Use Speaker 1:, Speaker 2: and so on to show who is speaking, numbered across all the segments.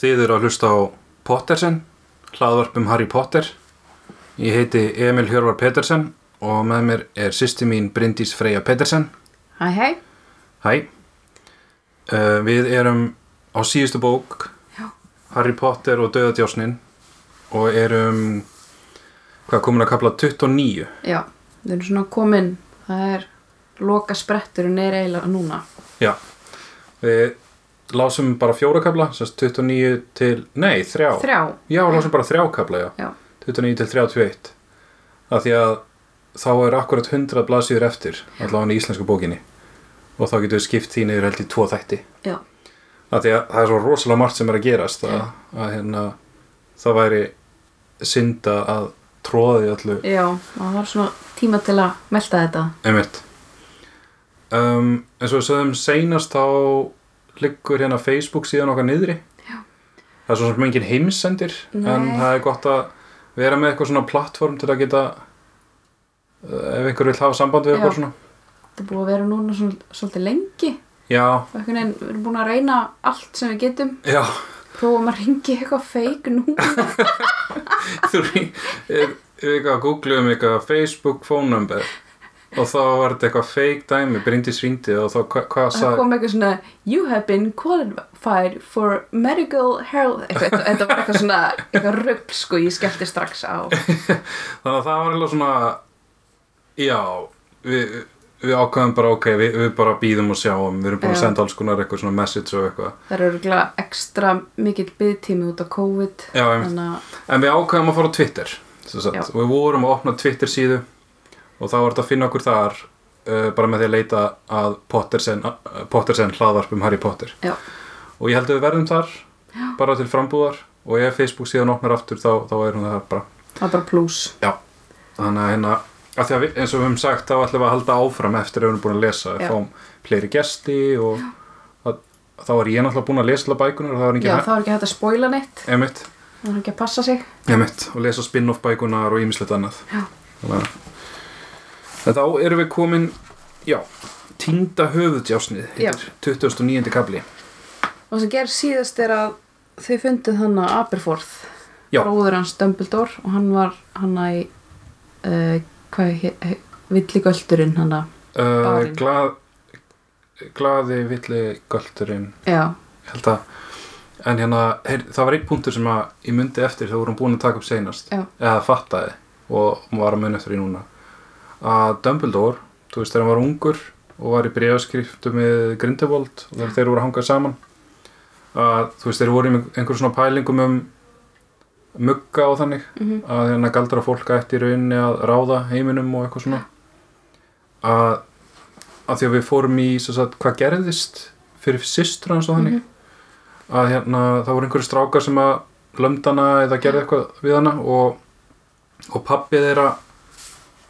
Speaker 1: Þið eru að hlusta á Pottersen, hlaðvarp um Harry Potter. Ég heiti Emil Hjörvar Petersen og með mér er sýsti mín Bryndís Freyja Petersen.
Speaker 2: Hæ, hæ,
Speaker 1: Hæ. Uh, við erum á síðustu bók,
Speaker 2: Já.
Speaker 1: Harry Potter og Dauðadjásnin og erum, hvað komin að kapla 29?
Speaker 2: já, við erum svona komin, það er loka spretturinn er eiginlega núna.
Speaker 1: Já. Við lásum bara fjóra kapla, semst 29 til, nei, þrjá.
Speaker 2: Þrjá,
Speaker 1: Já, lásum bara þrjá kapla, já.
Speaker 2: já,
Speaker 1: 29 til 31 af því að þá er akkurat 100 blaðsýður eftir allavega í íslensku bókinni og þá getur við skipt því niður held í tvo þætti
Speaker 2: já,
Speaker 1: af því að það er svo rosalega margt sem er að gerast að, að hérna það væri synda að tróða því allu
Speaker 2: já, og það var svona tíma til að melta þetta.
Speaker 1: einmitt um, eins og við sögum seinast þá liggur hérna Facebook síðan okkar niðri
Speaker 2: Já.
Speaker 1: það er svo sem engin heimsendir en
Speaker 2: Nei.
Speaker 1: það er gott að vera með eitthvað svona plattform til að geta uh, ef einhver vil hafa samband við
Speaker 2: Já.
Speaker 1: okkur svona
Speaker 2: Þetta er búið að vera núna svona, svolítið lengi
Speaker 1: já,
Speaker 2: og einhvern veginn, við erum búin að reyna allt sem við getum.
Speaker 1: já
Speaker 2: Prófum að ringi eitthvað feik nú.
Speaker 1: þú ring- ef ef eitthvað að googla um eitthvað Facebook phone number og þá var þetta eitthvað fake dæmi Bryndís ringdi og þá hva, hvað
Speaker 2: Það
Speaker 1: sagði
Speaker 2: kom eitthvað svona, you have been qualified for medical health, eitthvað, þetta var eitthvað svona, eitthvað rögl sko, ég skellti strax á.
Speaker 1: Þannig að það var eitthvað svona Já Við, við ákveðum bara ok við, við bara býðum og sjáum Við erum búin að
Speaker 2: Já.
Speaker 1: senda alls konar eitthvað svona message og eitthvað
Speaker 2: Það eru örgulega ekstra mikill byggtími út af COVID
Speaker 1: Já, einmitt.
Speaker 2: þannig að
Speaker 1: En við ákveðum að fara á Twitter sem sagt.
Speaker 2: Já.
Speaker 1: Og Við vorum að opna Twitter síðu Og þá var þetta að finna okkur þar uh, Bara með því að leita að Pottersen, uh, Pottersen hlaðvarp um Harry Potter
Speaker 2: já,
Speaker 1: Og ég held að við verðum þar Já. Bara til frambúðar Og ef Facebook síðan opnar aftur þá, þá er hún það bara
Speaker 2: það er bara pluss
Speaker 1: Já, þannig að hérna að því að við, eins og við höfum sagt þá ætlum við að halda áfram eftir að við erum búin að lesa við
Speaker 2: Já.
Speaker 1: fáum fleiri gesti og að, þá er ég náttúrulega búin að lesa alla bækunar og það er
Speaker 2: Já,
Speaker 1: engin
Speaker 2: þá er ekki hægt að spoila neitt
Speaker 1: emitt,
Speaker 2: Það er ekki að passa sig
Speaker 1: emitt og lesa spin-off bækunar og ýmislegt annað
Speaker 2: Já,
Speaker 1: þannig að en þá erum við komin já, týnda höfudjásnið
Speaker 2: Já.
Speaker 1: heitir 2009. kabli
Speaker 2: og sem gerð síðast er að þau fundið hann að Aberforth
Speaker 1: Já.
Speaker 2: Bróður hans Dumbledore og hann var hann að í uh, hvað, he, he, villigöldurinn hann að
Speaker 1: uh,
Speaker 2: Barinn.
Speaker 1: glað, glaði villi gölturinn
Speaker 2: Já,
Speaker 1: Ég held að en hérna, heyr, það var einn punktur sem að ég myndi eftir þegar vorum búin að taka upp seinast
Speaker 2: Já.
Speaker 1: eða fattaði og var að muni eftir því núna að Dumbledore, þú veist þegar hann var ungur og var í bregðaskriftu með Grindelwald og þegar þeir voru að hanga saman að þú veist þeir voru í einhver svona pælingum um mugga og þannig
Speaker 2: Mhm.
Speaker 1: að hérna galdra fólk ætti í rauninni að ráða heiminum og eitthvað svona að, að því að við fórum í sem sagt, hvað gerðist fyrir systra hans og þannig að hérna það voru einhverju strákar sem að lömd hana eða gerði eitthvað við hana og, og pappi þeirra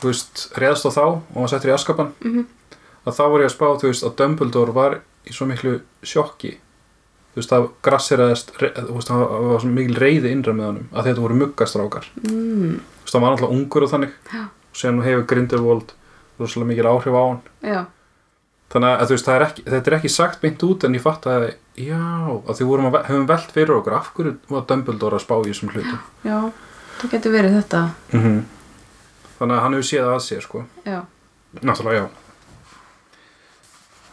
Speaker 1: þú veist, reðst á þá og var settur í askapan
Speaker 2: Mhm.
Speaker 1: að þá voru ég að spá, þú veist, að Dumbledore var í svo miklu sjokki þú veist, það grasseraðist re- þú veist, það var svo mikil reyði innra með honum að þetta voru muggastrákar
Speaker 2: mm,
Speaker 1: þú veist, það var alltaf ungur og þannig
Speaker 2: Já.
Speaker 1: og síðan hefur Grindelwald rosalega mikil áhrif á hann
Speaker 2: já,
Speaker 1: þannig að þú veist, það er ekki, þetta er ekki sagt beint út en ég fatt að já, að því vorum að ve- höfum velt fyrir okkur af hverju var Dumbledore að spá í þessum hlutum
Speaker 2: já Það getur verið þetta
Speaker 1: mm -hmm. þannig að hann hefur séð að sér sko
Speaker 2: Já
Speaker 1: náttúrulega já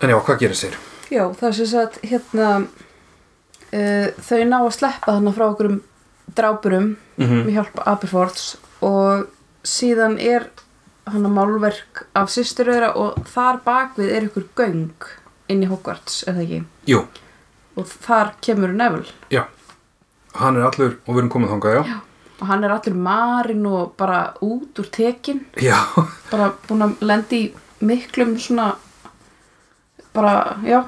Speaker 1: en já, hvað gerir sér?
Speaker 2: Já, það er sem sagt hérna uh, þau ná að sleppa þarna frá okkur um drápurum
Speaker 1: Mm
Speaker 2: með hjálp Aberforths og síðan er hann að málverk af systur þeirra og þar bakvið er ykkur göng inn í Hogwarts, er það ekki?
Speaker 1: Jú,
Speaker 2: Og þar kemur Neville
Speaker 1: já hann er allur og við erum komið þangað, já
Speaker 2: og hann er allir marinn og bara út úr tekin
Speaker 1: já,
Speaker 2: bara búin að lendi í miklum svona bara, já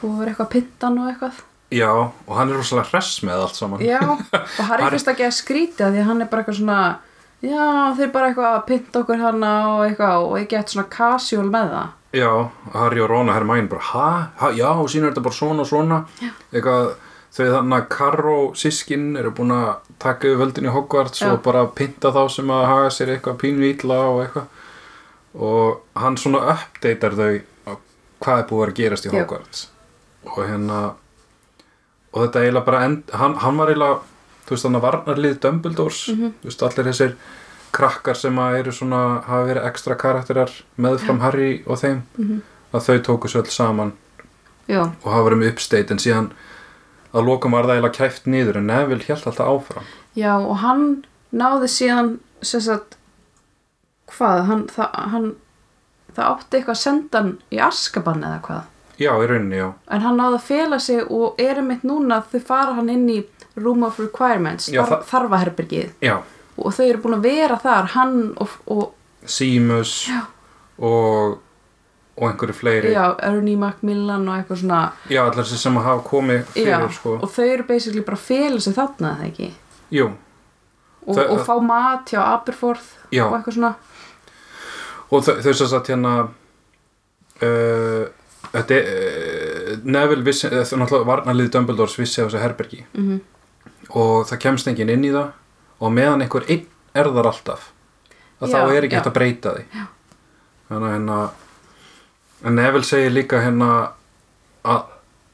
Speaker 2: búið að vera eitthvað pintan og eitthvað
Speaker 1: já og hann er rosalega hress með allt saman
Speaker 2: Já, og Harry
Speaker 1: Harry-
Speaker 2: finnst ekki að skrýta því að hann er bara eitthvað svona Já, þeir bara eitthvað að pynta okkur hana og eitthvað og ég get svona casual með það
Speaker 1: Já, Harry og Rona Hermæn bara, ha? ha? Já, og sína er þetta bara svona og svona eitthvað, þau þannig að Karro sískin eru búin að taka yfir völdin í Hogwarts
Speaker 2: Já.
Speaker 1: og bara pinta þá sem að haga sér eitthvað pínvítla og eitthvað og hann svona uppdatear þau á hvað er búið að vera að gerast í
Speaker 2: Já.
Speaker 1: Hogwarts og hérna og þetta eiginlega bara end, hann, hann var eiginlega þú veist þannig að varnarlið Dumbledores
Speaker 2: Mhm.
Speaker 1: þú veist allir þessir krakkar sem að eru svona hafa verið ekstra karakterar meðfram Harry og þeim
Speaker 2: Mhm.
Speaker 1: að þau tóku sér öll saman
Speaker 2: já,
Speaker 1: og hafa verið með uppsteit en síðan að lokum var það eiginlega kæft niður en Neville hélt alltaf áfram
Speaker 2: já og hann náði síðan sem sagt hvað, hann það, hann, það átti eitthvað að senda hann í Askaban eða hvað
Speaker 1: já í rauninni já,
Speaker 2: en hann náði að fela sig og erum mitt núna þau fara hann inn í Room of Requirements
Speaker 1: Já,
Speaker 2: þar,
Speaker 1: það-
Speaker 2: þarfaherbergið
Speaker 1: já
Speaker 2: og þau eru búin að vera þar hann og, og
Speaker 1: Seamus
Speaker 2: Já.
Speaker 1: og og einhverju fleiri
Speaker 2: já, Ernie Macmillan og eitthvað svona
Speaker 1: já allar þessi sem hafa komið fyrir
Speaker 2: já,
Speaker 1: sko
Speaker 2: og þau eru basically bara að fela sig þarna eða ekki
Speaker 1: jú,
Speaker 2: og,
Speaker 1: Þau-
Speaker 2: og fá mat hjá Aberforth
Speaker 1: já
Speaker 2: og eitthvað svona
Speaker 1: og þau, þau sem sagt hérna uh, þetta er uh, Neville vissi, eh, þau náttúrulega varnarlið Dumbledores vissi á þessu herbergi
Speaker 2: mm
Speaker 1: og það kemst enginn inn í það og meðan einhver einn er þar alltaf að
Speaker 2: Já,
Speaker 1: þá er ekki
Speaker 2: já.
Speaker 1: hægt að breyta því já. þannig að hérna en Neville segir líka hérna að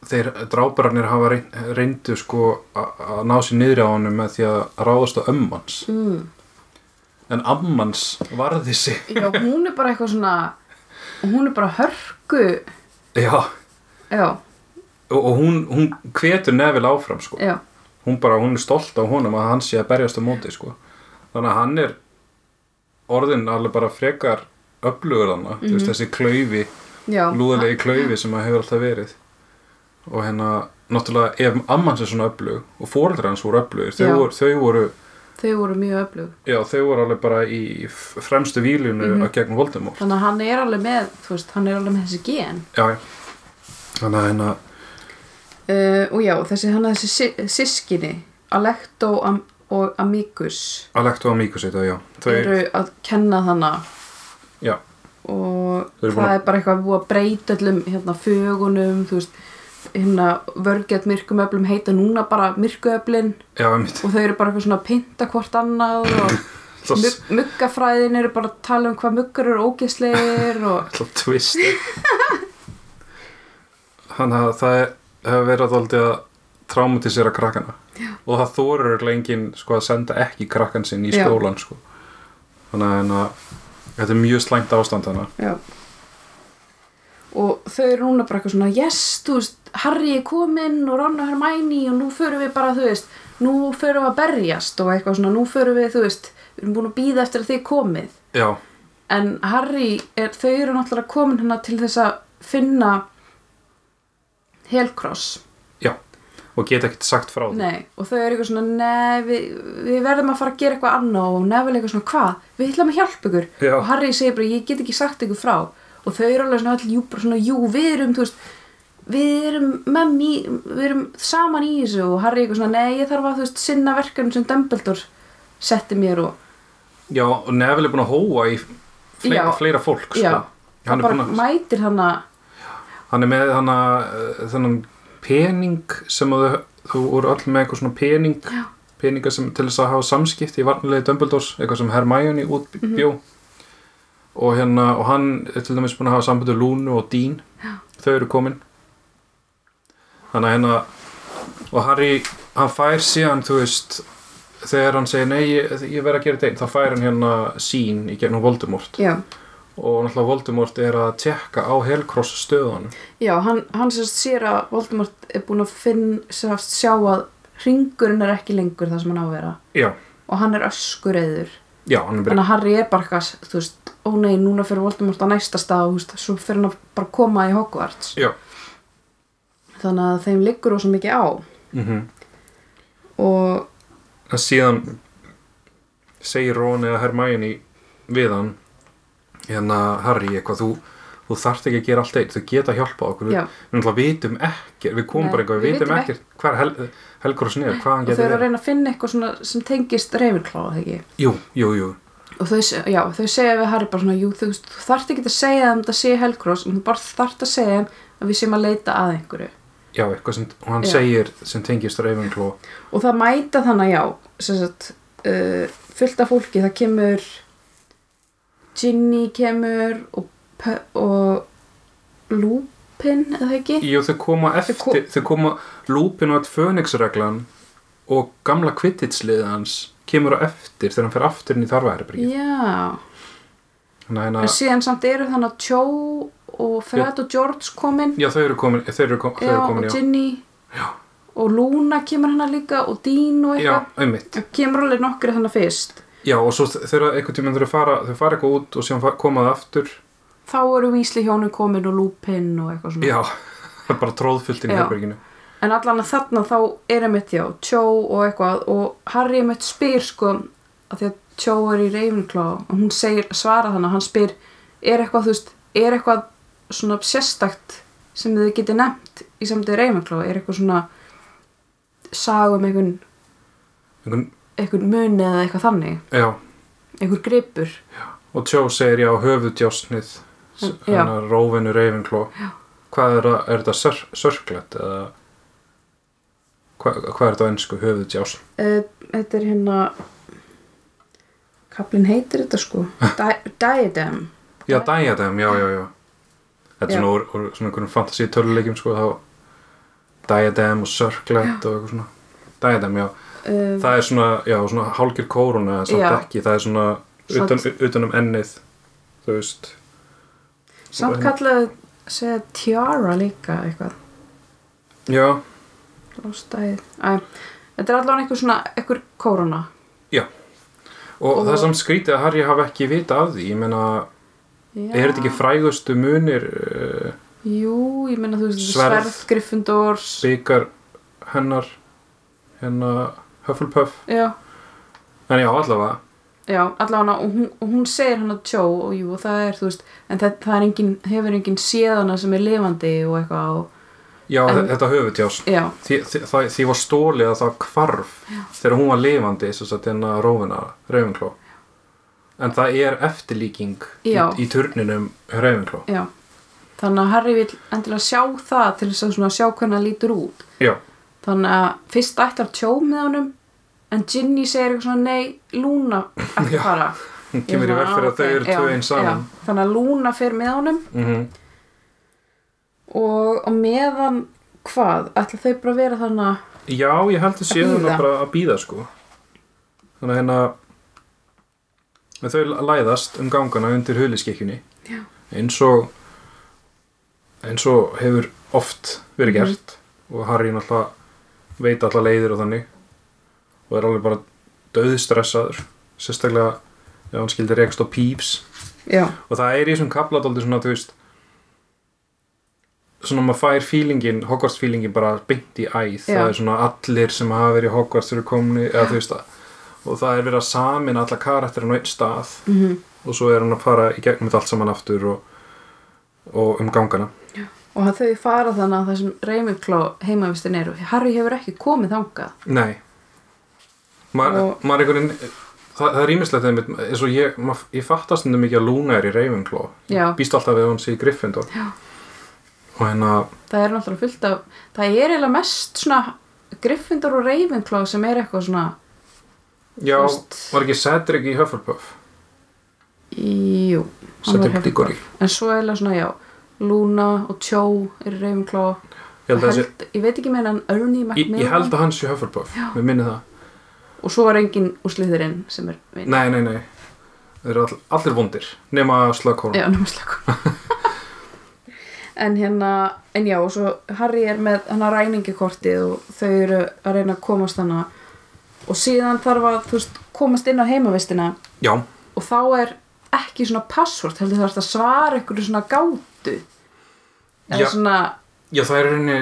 Speaker 1: þeir drápararnir hafa reyn- reyndu sko a- að ná sér niðri á honum með því að ráðast á ömmans
Speaker 2: mm.
Speaker 1: en ammans varði sig
Speaker 2: já, hún er bara eitthvað svona hún er bara hörku
Speaker 1: já,
Speaker 2: já,
Speaker 1: og, og hún, hún hvetur Neville áfram sko
Speaker 2: já,
Speaker 1: hún bara, hún er stolt á honum að hann sé að berjast á móti sko. þannig að hann er orðin alveg bara frekar öflugur hann, mm veist, þessi klaufi
Speaker 2: Mhm. já
Speaker 1: lúðalegi klaufi sem að hefur alltaf verið og hérna náttúrulega ef amman sem svona öflug og fóreldrar hans voru öflugir, þau,
Speaker 2: Já.
Speaker 1: voru, þau voru
Speaker 2: þau voru mjög öflug
Speaker 1: já, þau voru alveg bara í f- fremstu výlunu
Speaker 2: Mhm.
Speaker 1: mm -hmm. gegn Voldemort
Speaker 2: þannig að hann er alveg með, þú veist, hann er alveg með þessi gen
Speaker 1: já, já. þannig að hérna
Speaker 2: uh, og já, þessi, hann er þessi si- sískinni Alecto Am og Amicus
Speaker 1: Alecto og Mikus þetta, já þau,
Speaker 2: eru að kenna þannig
Speaker 1: já,
Speaker 2: og
Speaker 1: Þau eru búin
Speaker 2: það
Speaker 1: að-
Speaker 2: er bara eitthvað búið að breyta öllum hérna fögunum, þú veist hérna vörgjart myrkumöflum heita núna bara myrkuöflin
Speaker 1: já, einmitt
Speaker 2: og þau eru bara eitthvað svona að pinta hvort annað og
Speaker 1: Það
Speaker 2: mug, muggafræðin eru bara að tala um hvað muggar eru ógeðslegir og
Speaker 1: Alltaf twist Þannig að það er- hefur verið alltaf að traumatisera krakkana Já. og það þorur lengin sko, að senda ekki krakkan sinn í
Speaker 2: Já.
Speaker 1: skólan sko. þannig að hérna, þetta er mjög slæmt ástand hana
Speaker 2: já og þau eru núna bara eitthvað svona yes, þú veist, Harry er kominn og Ron og Hermæni og nú förum við bara, þú veist nú förum við að berjast og eitthvað svona, nú förum við, þú veist við erum búin að býða eftir að þið komið
Speaker 1: Já,
Speaker 2: en Harry, er, þau eru náttúrulega komin hérna til þess að finna Helcross
Speaker 1: já og geta ekkert sagt frá því
Speaker 2: Nei, og þau eru eitthvað svona, nei, við, við verðum að fara að gera eitthvað annað og nefnilega eitthvað svona, hvað? Við ætlum að hjálpa ykkur
Speaker 1: Já.
Speaker 2: og Harry segir bara, ég get ekki sagt ykkur frá og þau eru alveg svona, all, jú, bara svona, jú, við erum, þú veist, við erum, með í, við erum saman í þessu og Harry eitthvað svona, nei, ég þarf að, þú veist, sinna verkefnum sem Dumbledore setti mér og,
Speaker 1: Já, og Neville er búin að hóa í fleira,
Speaker 2: Já.
Speaker 1: fleira fólk sko.
Speaker 2: já,
Speaker 1: hann,
Speaker 2: hann
Speaker 1: er
Speaker 2: bara
Speaker 1: búin að,
Speaker 2: mætir hann að,
Speaker 1: hann er með hana, eh, þennan pening sem að þau, þau voru öll með eitthvað svona pening
Speaker 2: já,
Speaker 1: peninga sem, til þess að hafa samskipti í varnilegi Dumbledores, eitthvað sem Hermione útbjó
Speaker 2: Mhm.
Speaker 1: og hérna og hann er til dæmis búin að hafa sambandi Lúnu og Dean, þau eru komin þannig að hérna og Harry, hann fær síðan þú veist, þegar hann segir nei, ég, ég verð að gera þetta einn, þá fær hann hérna sín í gegnum Voldemort
Speaker 2: já.
Speaker 1: og náttúrulega Voldemort er að tekka á Helcross stöðanum
Speaker 2: Já, hann, hann sérst sér að Voldemort er búin að finn, sérst sjá að ringurinn er ekki lengur það sem hann á að vera
Speaker 1: já,
Speaker 2: og hann er öskureiður
Speaker 1: já, hann er byrjað
Speaker 2: þannig að Harry er bara eitthvað, þú veist, ó nei, núna fyrir Voldemort á næsta stað, þú veist, svo fyrir hann að bara koma í Hogwarts
Speaker 1: já,
Speaker 2: þannig að þeim liggur ósa mikið á
Speaker 1: mhm
Speaker 2: og,
Speaker 1: en síðan segir Ron eða Hermione við hann hérna Harry eitthvað þú, þú þarft ekki að gera allt eitt, þú geta að hjálpa okkur
Speaker 2: Já.
Speaker 1: við náttúrulega vitum ekkert við komum
Speaker 2: Nei,
Speaker 1: bara eitthvað, við
Speaker 2: við
Speaker 1: vitum
Speaker 2: vitum
Speaker 1: ekkert hver hel, helgur oss niður, hvað hann
Speaker 2: og þau
Speaker 1: getur
Speaker 2: eru að
Speaker 1: verið
Speaker 2: reyna að finna eitthvað svona sem tengist reyfinkláð, ekki?
Speaker 1: jú, jú, jú,
Speaker 2: Og þau, se- já, þau segja við Harry bara svona, jú, þú, veist, þú þarft ekki að segja þeim þetta sé Helgrós, en þú bara þarft að segja þeim að við séum að leita að einhverju.
Speaker 1: já, eitthvað sem og hann
Speaker 2: Já.
Speaker 1: segir sem tengist Ravenclaw
Speaker 2: og það mæta þannig já sem sagt, uh, fullt af fólki það kemur Ginny kemur og, Pe- og Lú, lúpin eða það ekki
Speaker 1: Jú, þau koma eftir,
Speaker 2: ko-
Speaker 1: þau koma lúpin og fönixreglan og gamla kvittitsliðið hans kemur á eftir þegar hann fer aftur inn í þarfaherbyrgi.
Speaker 2: já,
Speaker 1: Þannig að hérna,
Speaker 2: en síðan samt eru þannig að Tjó og Fred og George komin
Speaker 1: já, þau eru komin, þau eru komin, þau eru komin,
Speaker 2: og
Speaker 1: já.
Speaker 2: Ginny
Speaker 1: Já.
Speaker 2: og Luna kemur hennar líka og Dean og
Speaker 1: Já,
Speaker 2: eitthvað
Speaker 1: einmitt.
Speaker 2: Það kemur alveg nokkri þannig fyrst
Speaker 1: Já, og svo þau eru einhvern tímann þau fara, þau fara eitthvað út og síðan fa- koma það aftur.
Speaker 2: þá eru Vísli hjónu komin og lúpin og eitthvað svona
Speaker 1: Já, það er bara tróðfullt inn í
Speaker 2: Mm. Já.
Speaker 1: herbyrginu.
Speaker 2: En allan að þarna þá er einmitt já, Tjó og eitthvað og Harry einmitt spyr sko að því að Tjó er í Ravenclaw og hún segir, svara þannig að hann spyr er eitthvað, þú veist, er eitthvað svona sérstakt sem þið geti nefnt í samtið Ravenclaw er eitthvað svona sagum einhvern,
Speaker 1: Einhvern,
Speaker 2: einhvern muni eða eitthvað þannig,
Speaker 1: já,
Speaker 2: einhver gripur
Speaker 1: og Tjó segir já, höfudjásnið,
Speaker 2: En- Mm, já.
Speaker 1: hann að rófinu reyfingló. Hvað er, að, er þetta sör, sörklet eða hvað, hvað er þetta á ennsku höfudjásn?
Speaker 2: Eh, Þetta er hérna kaplinn heitir þetta sko Di Diadem
Speaker 1: Já, Diadem, já, já, já. Þetta er
Speaker 2: Já.
Speaker 1: svona úr, úr svona einhvern fantasí töluleikjum, sko, þá Diadem og Sörklet og eitthvað svona. Diadem, já.
Speaker 2: um,
Speaker 1: Það er svona, já, svona hálgir kóruna, en samt
Speaker 2: Já.
Speaker 1: ekki, það er svona utan, utan um ennið, þú veist.
Speaker 2: Samt kallaði segja tiara líka eitthvað
Speaker 1: Já,
Speaker 2: Lástæðið Æ, Þetta er allavega einhver svona, einhver kórona
Speaker 1: og,
Speaker 2: Og-
Speaker 1: það er samt skrítið að Harry hafi ekki vita af því, ég meina,
Speaker 2: Já.
Speaker 1: er þetta ekki frægustu munir uh,
Speaker 2: Jú, ég meina þú veist
Speaker 1: Sverð.
Speaker 2: Sverð, sverð Gryffindors
Speaker 1: byggar hennar, hennar Hufflepuff,
Speaker 2: Já,
Speaker 1: en já, allavega,
Speaker 2: já, allavega og hún, og hún segir hann að tjó og jú og það er, þú veist en það, það er engin, hefur engin séðana sem er lifandi og eitthvað og,
Speaker 1: já,
Speaker 2: En-
Speaker 1: þetta höfutjásn.
Speaker 2: Já,
Speaker 1: því, því, það, því var stólið að það kvarf þegar hún var lifandi sem sagt hérna rófuna, rauðinkló en það er eftirlíking í,
Speaker 2: Já.
Speaker 1: í turninum rauðinkló
Speaker 2: já Þannig að Harry vil endilega sjá það til þess að svona sjá hvernig hann lítur út
Speaker 1: já,
Speaker 2: Þannig að fyrst ætlar Tjó með honum en Ginny segir eitthvað svona nei, Luna ætti
Speaker 1: Já,
Speaker 2: fara.
Speaker 1: hún
Speaker 2: Ég
Speaker 1: kemur í
Speaker 2: svona,
Speaker 1: veg fyrir að
Speaker 2: "Ah,
Speaker 1: þau
Speaker 2: ok,
Speaker 1: eru tvö
Speaker 2: já,
Speaker 1: einn saman
Speaker 2: já. Þannig að Lúna fer með honum
Speaker 1: mm
Speaker 2: og á meðan hvað? Ætla þau bara að vera þannig að
Speaker 1: já, ég held að
Speaker 2: Að
Speaker 1: sé
Speaker 2: bíða.
Speaker 1: hana bara að býða sko þannig að hérna en þau læðast um gangana undir huliskekkjunni
Speaker 2: Já.
Speaker 1: eins og eins og hefur oft verið
Speaker 2: Mhm.
Speaker 1: gert og Harry náttúrulega veit alltaf leiðir og þannig og er alveg bara döðstressaður sérstaklega ef hann skildi rekst á Peeves
Speaker 2: Já,
Speaker 1: og það er í þessum kapladóldi svona þú veist svona maður fær feelingin, Hogwarts feelingin bara beint í æð,
Speaker 2: Já.
Speaker 1: það er svona allir sem hafa verið í Hogwarts eru komni eða þú veist það, og það er verið að samin alla karakterinn á einn stað
Speaker 2: mm
Speaker 1: og svo er hann að fara í gegnum þetta allt saman aftur og, og um gangana
Speaker 2: og að þau fara þannig að það sem Reymurkló heimavistin eru. Harry hefur ekki komið þangað.
Speaker 1: nei maður
Speaker 2: Og-
Speaker 1: maður einhvern veginn það, það er ímislegt einmitt, eins og ég mað, ég fattast hendur mikið að Luna er í Ravenclaw
Speaker 2: Já.
Speaker 1: býst alltaf við að hún sé í Gryffindor
Speaker 2: Já.
Speaker 1: og hérna,
Speaker 2: Það er náttúrulega fullt af, það er eiginlega mest svona Gryffindor og Ravenclaw sem er eitthvað svona,
Speaker 1: já,
Speaker 2: Þú veist-
Speaker 1: var ekki Cedric í Hufflepuff
Speaker 2: jú, hann var
Speaker 1: Cedric Diggory
Speaker 2: En svo eiginlega svona, já, Luna og Tjó eru Ravenclaw.
Speaker 1: ég held að þessi
Speaker 2: held, ég veit ekki meina hann Ernie
Speaker 1: Ég,
Speaker 2: Macmillan
Speaker 1: ég held að hann sé Hufflepuff, mér minni það
Speaker 2: og svo er enginn úr sliðurinn sem er vinn
Speaker 1: Nei, nei, nei, þeir eru all, allir vondir nema Slughorn
Speaker 2: já, námslega en hérna, en já, og svo Harry er með hann að ræningikortið og þau eru að reyna að komast hana og síðan þarf að, þú veist, komast inn á heimavistina
Speaker 1: Já,
Speaker 2: og þá er ekki svona passvort heldur það að svara einhverju svona gátu eða
Speaker 1: Já.
Speaker 2: svona
Speaker 1: já það er reyni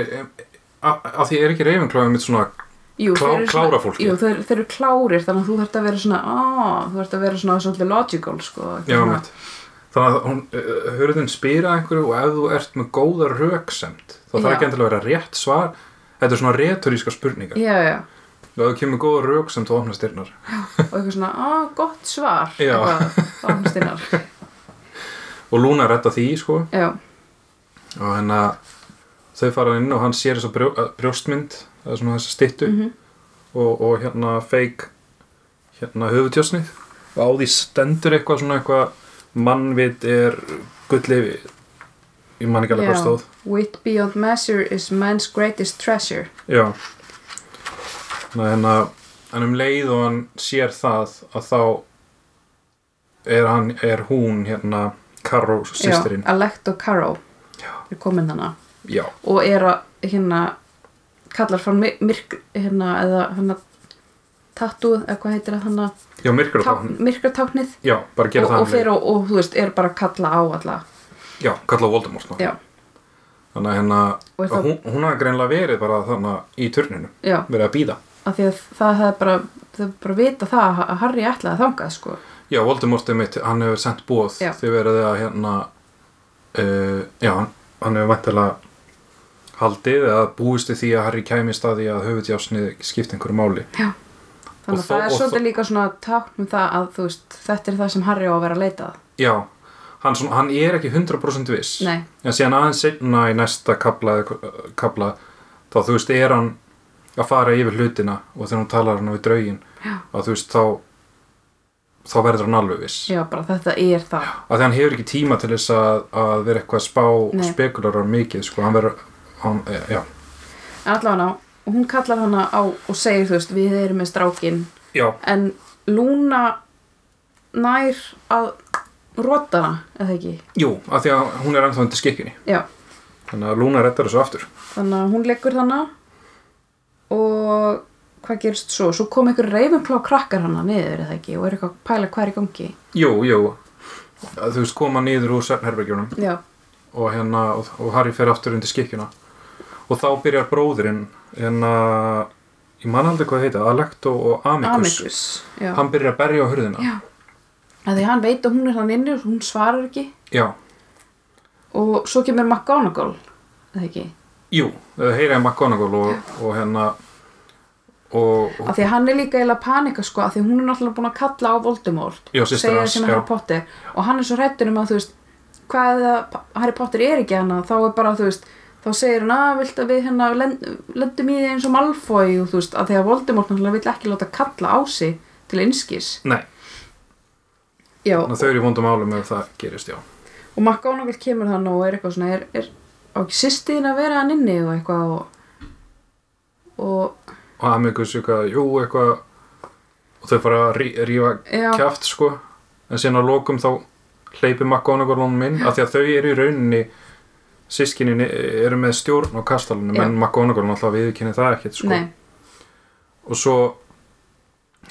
Speaker 1: að því er ekki reyfinglóðið mitt svona
Speaker 2: Jú,
Speaker 1: Klá-
Speaker 2: þeir eru svona-
Speaker 1: klára fólkið.
Speaker 2: Jú, þeir, þeir eru klárir þannig að þú þarft að vera svona á, þú þarft að vera svona svolítið logical sko, eitthvað
Speaker 1: Já,
Speaker 2: svona.
Speaker 1: mitt Þannig að hún, uh, hörðin spyr að einhverju og ef þú ert með góða röksemd þá þarf
Speaker 2: Já.
Speaker 1: ekki endilega að vera rétt svar Þetta er svona retoríska spurningar
Speaker 2: já, já,
Speaker 1: og ef þú kemur með góða röksemd þá opnast dyrnar
Speaker 2: og eitthvað svona, á, gott svar
Speaker 1: Já.
Speaker 2: eitthvað, þá hún stinnar
Speaker 1: og Luna retta því, sko
Speaker 2: já,
Speaker 1: og hérna þau fara inn og hann sér þess að brjó, að brjóstmynd eða svona þess að styttu
Speaker 2: mhm. Mm.
Speaker 1: og, og hérna feik hérna höfutjásnið og á því stendur eitthvað svona eitthvað mannvit er gullifi ég man ekki alveg hvað
Speaker 2: Já.
Speaker 1: stóð
Speaker 2: Wit beyond measure is man's greatest treasure
Speaker 1: já Þannig að hérna, en um leið og hann sér það að þá er, hann, er hún hérna Karó sýstirinn
Speaker 2: Já, Alecto Caro
Speaker 1: Já.
Speaker 2: er komin hana
Speaker 1: já.
Speaker 2: og er að hérna kallar frá mi- myrk hérna eða hérna tattúð eða hvað heitir það hana
Speaker 1: já, myrkur
Speaker 2: tá, myrkratáknið
Speaker 1: já, bara gera
Speaker 2: og,
Speaker 1: það um
Speaker 2: og
Speaker 1: leið.
Speaker 2: fyrir og, og þú veist er bara að kalla á alla
Speaker 1: já, kalla Voldemort ná.
Speaker 2: já,
Speaker 1: þannig að hérna,
Speaker 2: Og er það-
Speaker 1: hún, hún hafði greinlega verið bara þannig í turninu
Speaker 2: já,
Speaker 1: verið að býða
Speaker 2: af því að það hefði bara þau bara vita það að Harry ætlaði að þangað sko
Speaker 1: Já, Voldemort er mitt, hann hefur sendt bóð
Speaker 2: Já.
Speaker 1: þið verið að hérna uh, já, hann- hann hefur vantilega haldið eða búist við því að Harry kæmi staði að höfudjásnið skipti einhverju máli
Speaker 2: þannig
Speaker 1: Og
Speaker 2: að
Speaker 1: þó-
Speaker 2: það er
Speaker 1: og
Speaker 2: svolítið
Speaker 1: þó-
Speaker 2: líka svona tákn um það að þú veist þetta er það sem Harry á að vera að leita að
Speaker 1: Já, hann, svona, hann er ekki 100% viss
Speaker 2: nei,
Speaker 1: en síðan aðeins seinna í næsta kapla, eða- kapla þá þú veist, er hann að fara yfir hlutina og þegar hún talar um hann við draugin
Speaker 2: Já.
Speaker 1: að þú veist, þá þá verður hann alveg viss
Speaker 2: já bara þetta er það
Speaker 1: að því hann hefur ekki tíma til þess að, að vera eitthvað að spá og
Speaker 2: Nei.
Speaker 1: spekulara mikið sko, hann verður hann, eh, já,
Speaker 2: En allavega og hún kallar hana á og segir, þú veist, við erum með strákin
Speaker 1: já,
Speaker 2: en Lúna nær að rota hana, eða ekki
Speaker 1: jú, að því að hún er ennþá undir skikkinni
Speaker 2: já,
Speaker 1: þannig að Luna rettar þessu aftur
Speaker 2: þannig að hún leggur hana og hvað gerst svo svo kom einhver reyfumklá krakkar hana niður, eða ekki, og er eitthvað að pæla hvað er í gangi
Speaker 1: jú, jú, að þú veist koma niður úr svefnherbergjunum
Speaker 2: já,
Speaker 1: og, hérna, og, og Harry fer aftur undir skikkjuna og þá byrjar bróðurinn hérna, ég man aldrei hvað heita Alecto og Amicus,
Speaker 2: Amicus já,
Speaker 1: hann byrjar að berja á hurðina
Speaker 2: já að því hann veit að hún er hann inni og hún svarar ekki
Speaker 1: já,
Speaker 2: og svo kemur McGonagall eða ekki,
Speaker 1: jú, heyra í McGonagall og, og hérna og, og
Speaker 2: af því að hann er líka eiginlega að panika sko, af því að hún er náttúrulega búin að kalla á Voldemort
Speaker 1: Já, systir
Speaker 2: segja
Speaker 1: hans,
Speaker 2: sem
Speaker 1: já.
Speaker 2: Harry Potter og hann er svo hrættur um að þú veist hvað eða Harry Potter er ekki hana þá er bara þú veist, þá segir hann að vilt að við hérna lend, lendum í því eins og Malfoy og þú veist, af því að Voldemort náttúrulega vill ekki láta kalla á sig til einskis
Speaker 1: nei,
Speaker 2: já,
Speaker 1: þannig að þau eru í vondum álum ef það gerist, já
Speaker 2: og McGonagall kemur þann og er eitthvað svona er, er á ekki sýstiðin að vera hann inni og eitthvað og, og
Speaker 1: og Amicus eitthvað, jú, eitthvað og þau fara að rí, rífa
Speaker 2: já,
Speaker 1: kjaft, sko en síðan að lokum þá hleypi McGonagall honum inn, af því að þau eru í rauninni sískinin eru með stjórn á kastalunum,
Speaker 2: Já.
Speaker 1: en McGonagall náttúrulega viðkynni það ekkert, sko
Speaker 2: nei,
Speaker 1: og svo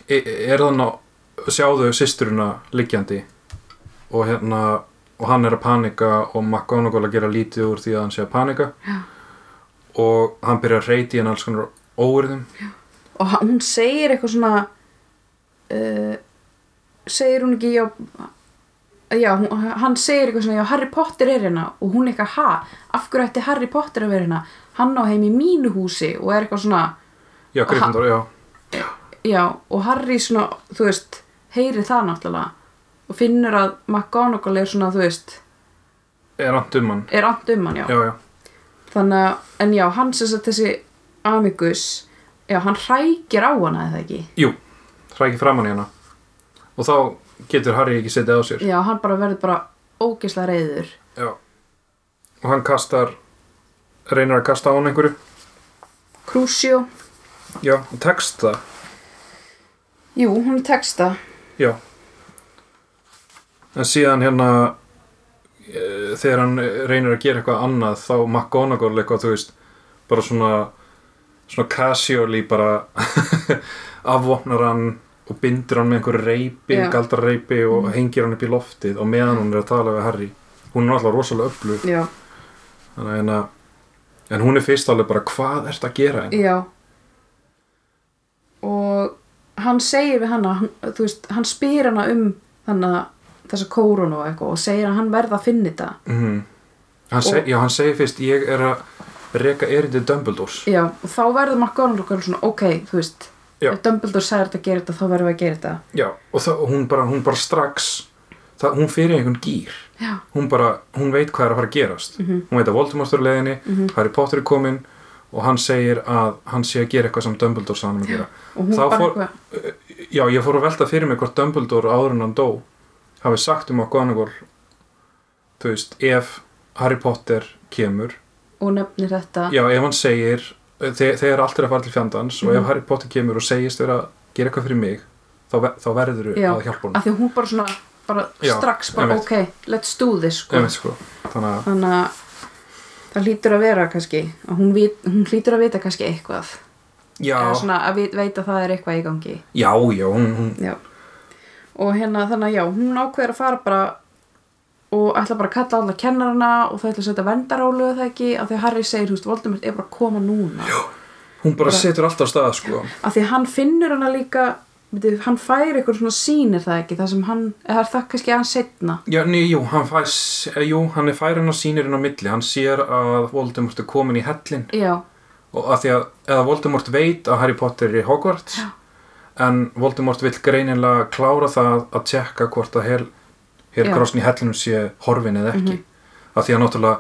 Speaker 1: e- er þann að sjáðu systurina liggjandi og hérna og hann er að panika og McGonagall að gera lítið úr því að hann sé að panika
Speaker 2: Já.
Speaker 1: og hann byrjar að reyti en alls konar óurðum
Speaker 2: og hann- hún segir eitthvað svona uh, segir hún ekki já, já hún, hann segir eitthvað svona já Harry Potter er hérna og hún eitthvað ha af hverju ætti Harry Potter að vera hérna hann á heim í mínu húsi og er eitthvað svona
Speaker 1: já, Gryffindor, já
Speaker 2: já og Harry svona þú veist heyri það náttúrulega og finnur að McGonagall er svona þú veist
Speaker 1: er hann um hann
Speaker 2: er and um hann já,
Speaker 1: já, já,
Speaker 2: þannig að en já hann sem sagt þessi Amicus já hann hrækir á hana eða ekki
Speaker 1: jú, hrækir framann í hana og þá getur Harry ekki setið á sér
Speaker 2: já hann bara verður bara ógeðslega reyður
Speaker 1: já. og hann kastar reynir að kasta á hann einhverju
Speaker 2: Crucio
Speaker 1: já, og tekst það
Speaker 2: Jú, hún er texta
Speaker 1: Já En síðan hérna eh, þegar hann reynir að gera eitthvað annað þá McGonagall eitthvað, þú veist bara svona, svona casually bara afvopnar hann og bindur hann með einhverju reipi,
Speaker 2: Já. Mm.
Speaker 1: galdrareipi og hengir hann upp í loftið og meðan hún er að tala við Harry hún er alltaf rosalega öflug
Speaker 2: Já,
Speaker 1: þannig að hérna en hún er fyrst alveg bara hvað ert að gera hérna?" henni
Speaker 2: já Og hann segir við hana hann, Þú veist, hann spyr hana um Þannig að þessa kórun og eitthvað Og segir að hann verða að finna þetta
Speaker 1: mm. hann seg,
Speaker 2: Og-
Speaker 1: já hann segir fyrst ég er að reka erindi Dumbledores
Speaker 2: Já, og þá verður McGonagall okkur svona Ok, þú veist
Speaker 1: Já.
Speaker 2: Ef Dumbledore sagði þetta að gera þetta, þá verðum við að gera þetta
Speaker 1: Já, og það, og hún, bara, hún bara strax það, hún fyrir einhvern gýr
Speaker 2: Já,
Speaker 1: hún bara, hún veit hvað er að fara að gerast
Speaker 2: Mhm.
Speaker 1: hún veit að Voldemort er á leiðinni Harry Potter er kominn og hann segir að hann sé að gera eitthvað sem Dumbledore sagði hann að gera
Speaker 2: og hún
Speaker 1: Þá
Speaker 2: bara
Speaker 1: fór-
Speaker 2: eitthvað
Speaker 1: Já, ég fór að velta fyrir mig hvort Dumbledore áður en hann dó hafi sagt um okkur annarkor þú veist, ef Harry Potter kemur
Speaker 2: og nefnir þetta
Speaker 1: já, ef hann segir þe- þegar allt er að fara til fjandans og
Speaker 2: Mhm.
Speaker 1: ef Harry Potter kemur og segist vera að gera eitthvað fyrir mig þá, ve- þá verður þú
Speaker 2: Já,
Speaker 1: að hjálpa honum
Speaker 2: af því að hún bara svona bara
Speaker 1: Já,
Speaker 2: strax bara
Speaker 1: einmitt.
Speaker 2: ok, let's do this sko.
Speaker 1: Einmitt, sko. þannig að
Speaker 2: þannig að það hlýtur að vera kannski að hún, vit, hún hlýtur að vita kannski eitthvað
Speaker 1: já,
Speaker 2: eða svona að vit, veit að það er eitthvað í gangi
Speaker 1: já, já, hún, hún
Speaker 2: já. og hérna þannig að já, hún ákveður að fara bara og ætla bara að kalla alla kennarana og þau ætla að setja vendarálu eða ekki af því að Harry segir, þú veist, Voldemort er bara að koma núna já.
Speaker 1: hún bara setur allt á stað sko.
Speaker 2: af því að hann finnur hana líka veitir, hann fær eitthvað svona sýnir það ekki það sem hann, eða er það kannski að hann setna
Speaker 1: já, ný, jú, hann fæs eh, jú, hann er færin að sýnir inn á milli hann sér að Voldemort er komin í hellin
Speaker 2: já,
Speaker 1: og að því að eða Voldemort veit að Harry Potter er í Hogwarts
Speaker 2: Já.
Speaker 1: en Voldemort vill greinilega klára það að tjekka hvort að hel,
Speaker 2: Já. Mhm.
Speaker 1: helgrósn í hellinum sé horfin eða ekki að því að náttúrulega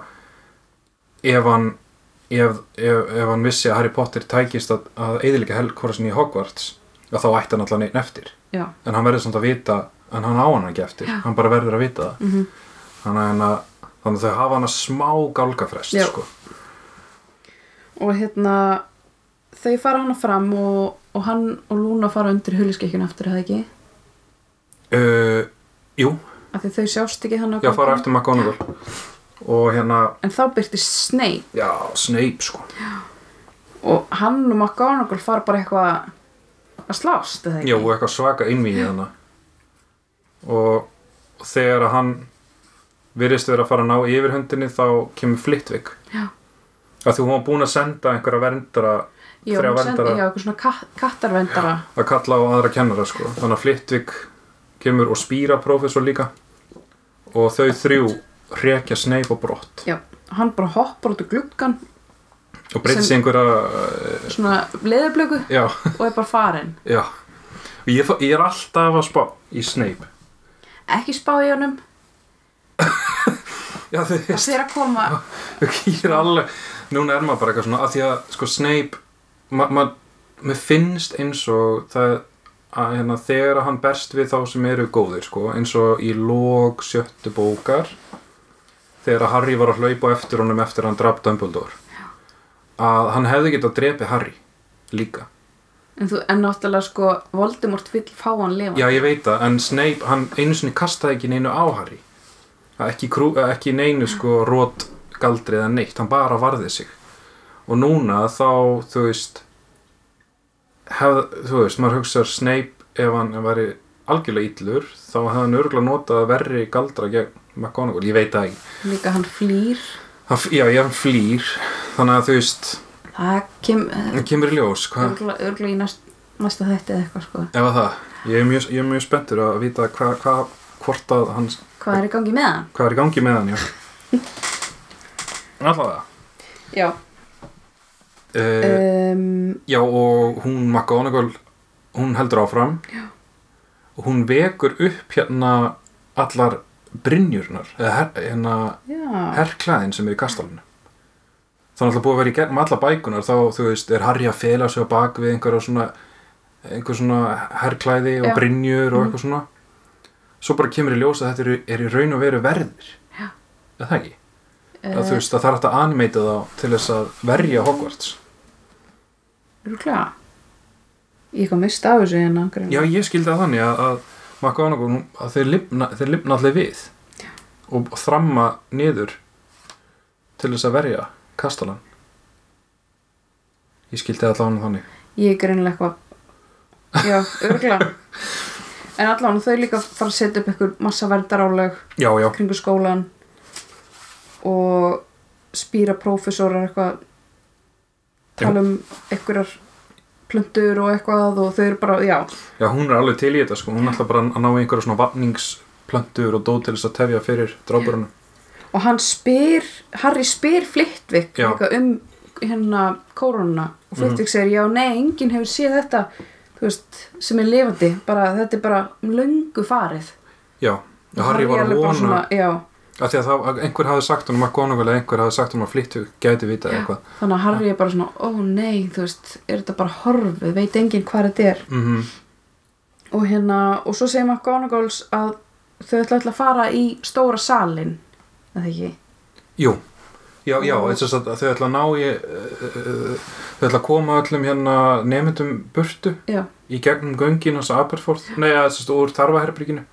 Speaker 1: ef hann ef, ef, ef hann vissi að Harry Potter tækist að, að eiðilega helgrósn í Hogwarts að þá ætti hann allan einn eftir
Speaker 2: já,
Speaker 1: en hann verður samt að vita en hann á hann ekki eftir,
Speaker 2: Já.
Speaker 1: hann bara verður að vita það
Speaker 2: mhm
Speaker 1: þannig að, hérna, þannig að þau hafa hana smá gálgafrest
Speaker 2: Já.
Speaker 1: sko.
Speaker 2: og hérna þau fara hana fram og, og hann og Luna fara undir huliskekkjun aftur eða ekki,
Speaker 1: uh, jú,
Speaker 2: af því þau sjást ekki hann
Speaker 1: Já, fara eftir McGonagall og hérna,
Speaker 2: en þá byrtist Snape
Speaker 1: já, Snape sko
Speaker 2: og hann og McGonagall fara bara eitthvað að slást eða
Speaker 1: já,
Speaker 2: ekki
Speaker 1: og eitthvað svaka innví í hana og og þegar að hann virðist vera að fara að ná yfirhöndinni þá kemur Flitwick
Speaker 2: Já.
Speaker 1: að því hún var búin að senda einhverja verndara
Speaker 2: já,
Speaker 1: þrjá
Speaker 2: hún sendi,
Speaker 1: verndara
Speaker 2: já, eitthvað svona kat, kattarvendara
Speaker 1: að kalla á aðra kennara sko þannig að Flitwick kemur og spýra prófessor líka og þau þrjú hrekja Snape á brott
Speaker 2: já. hann bara hoppar út úr gluggan
Speaker 1: og breytist í einhverja eh,
Speaker 2: svona leðurblöku
Speaker 1: já,
Speaker 2: og er bara farin
Speaker 1: já og ég, fó- ég er alltaf að spá í Snape
Speaker 2: ekki spá í honum,
Speaker 1: Já, þú
Speaker 2: það
Speaker 1: veist,
Speaker 2: fyrir að koma
Speaker 1: ég er alveg, núna er maður bara eitthvað svona, að því að, sko, Snape, maður, ma, mér finnst eins og það, að hérna, þegar að hann berst við þá sem eru góðir, sko, eins og í lók sjöttu bókar, þegar að Harry var að hlaupa á eftir honum eftir að hann draf Dumbledore, að hann hefði getað drepið Harry líka.
Speaker 2: en, þú, en náttúrulega sko Voldemort vill fá hann lifa
Speaker 1: Já, ég veit það, en Snape, hann einu sinni kastaði ekki neinu á Harry, Það ekki, krú, ekki neinu sko rót galdri eða neitt, hann bara varði sig. Og núna þá, þú veist, hef, þú veist, maður hugsar Snape ef hann væri algjörlega illur, þá hefði hann örgulega notað verri galdra gegn McGonagall, ég veit það ekki.
Speaker 2: líka hann flýr
Speaker 1: Hann, f- já, ég hann flýr, þannig að þú veist,
Speaker 2: það kem,
Speaker 1: það kemur í ljós, hvað?
Speaker 2: örgulega í næst, næsta þætti eða eitthvað sko.
Speaker 1: Ef að það, ég er mjög, ég er mjög spenntur að vita hvað, hvað, hvort að hans
Speaker 2: hvað er í gangi með hann
Speaker 1: hvað er í gangi með hann, já. Allavega.
Speaker 2: já,
Speaker 1: Uh,
Speaker 2: um,
Speaker 1: já, og hún McGonagall, hún heldur áfram. Já. Og hún vekur upp hérna allar brynjurnar, eða her, hérna
Speaker 2: já.
Speaker 1: herrklæðin sem er í kastalinu. Þannig að búið að vera í gegnum alla bækunar, þá, þú veist, er Harry að fela sig á bak við einhverja svona, einhver svona herrklæði og
Speaker 2: Já. Mhm.
Speaker 1: brynjur og eitthvað svona. Svo bara kemur í ljós að þetta eru er í raun og veru verðir.
Speaker 2: Já.
Speaker 1: Er það ekki? að þú
Speaker 2: Uh,
Speaker 1: veist að það er hægt að animeita þá til þess að verja Hogwarts
Speaker 2: örgulega ég kom mist af þessu hérna, en angrið
Speaker 1: já ég skildi að þannig að, að McGonagall hún- að þeir lifna, þeir lifna allir við og þramma niður til þess að verja kastalan ég skildi að allan þannig
Speaker 2: ég er greinilega eitthvað já, örgulega en allavega þau líka fara að setja upp einhver massa verndaráleg
Speaker 1: já já,
Speaker 2: kringu skólan og spýra prófessorar eitthvað tala um einhverjar plöntur og eitthvað og þau eru bara, já,
Speaker 1: já hún er alveg til í þetta sko hún ætla bara að ná í einhverja svona vatningsplöntur og dót til þess að tefja fyrir dráburunum
Speaker 2: og hann spyr Harry spyr Flitwick
Speaker 1: Já. Mhm.
Speaker 2: líka um hérna kórununa og Flitwick segir já nei, enginn hefur séð þetta þú veist, sem er lifandi bara, þetta er bara löngu farið
Speaker 1: já, já Harry var að
Speaker 2: alveg bara
Speaker 1: vona
Speaker 2: svona, já,
Speaker 1: af því að það, að einhver hafði sagt honum McGonagall eða einhver hafði sagt honum að flyttu gæti vitað eitthvað
Speaker 2: þannig að Harry er bara svona ó nei, þú veist, er þetta bara horfið veit enginn hvað þetta er
Speaker 1: mm
Speaker 2: og hérna, og svo segir McGonagalls að þau ætla ætla að fara í stóra salin eða ekki
Speaker 1: Jú, já, já, þess að þau ætla að ná í, uh, uh, þau ætla að koma öllum hérna nefndum burtu
Speaker 2: já,
Speaker 1: í gegnum göngin hans Aberforth, nei, að þess að úr tarfaherbyrginu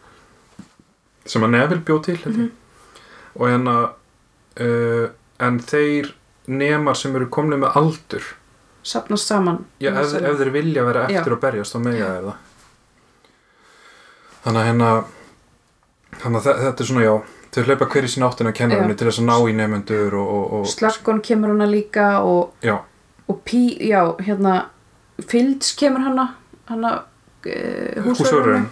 Speaker 1: sem að Neville bjó til mm
Speaker 2: Mhm.
Speaker 1: og hérna uh, en þeir nemar sem eru komnið með aldur
Speaker 2: sapnast saman
Speaker 1: Já, ef, ef þeir vilja vera eftir að berjast þá mega þeir það Þannig að hérna Þannig að þe- þetta er svona já Þau hlaupa hverju sín áttina kennarunni til þess að ná í nefnendur og, og, og
Speaker 2: Slarkon kemur hana líka og,
Speaker 1: já,
Speaker 2: og Pí, já, hérna Fields kemur hana hana uh,
Speaker 1: húsörurinn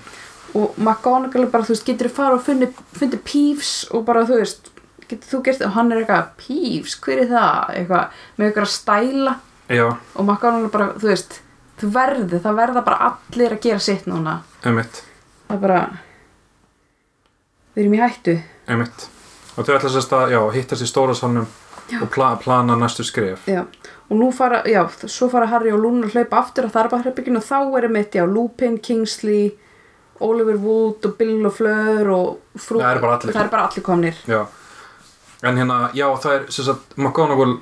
Speaker 2: og McGonagall er bara, þú veist, getur þú fara og fundi, fundi Peeves og bara, þú veist getur þú gert það, og hann er eitthvað Peeves, hver er það, eitthvað með eitthvað stæla
Speaker 1: Já,
Speaker 2: og McGonagall er bara, þú veist þú verði, það verða bara allir að gera sitt núna
Speaker 1: emitt,
Speaker 2: það er bara við erum í hættu
Speaker 1: emitt Og þau ætla sérst að já, hittast í stóra sannum og pla, plana næstu skref
Speaker 2: já. og nú fara, já, svo fara Harry og Luna að hlaupa aftur að þarpa hreppingin og þá er mitt, já, Lupin, Kingsley Oliver Wood og Bill og Fleur og frú,
Speaker 1: Það eru bara allir.
Speaker 2: það eru bara allir komnir
Speaker 1: Já En hérna, já, það er sem sagt McGonagall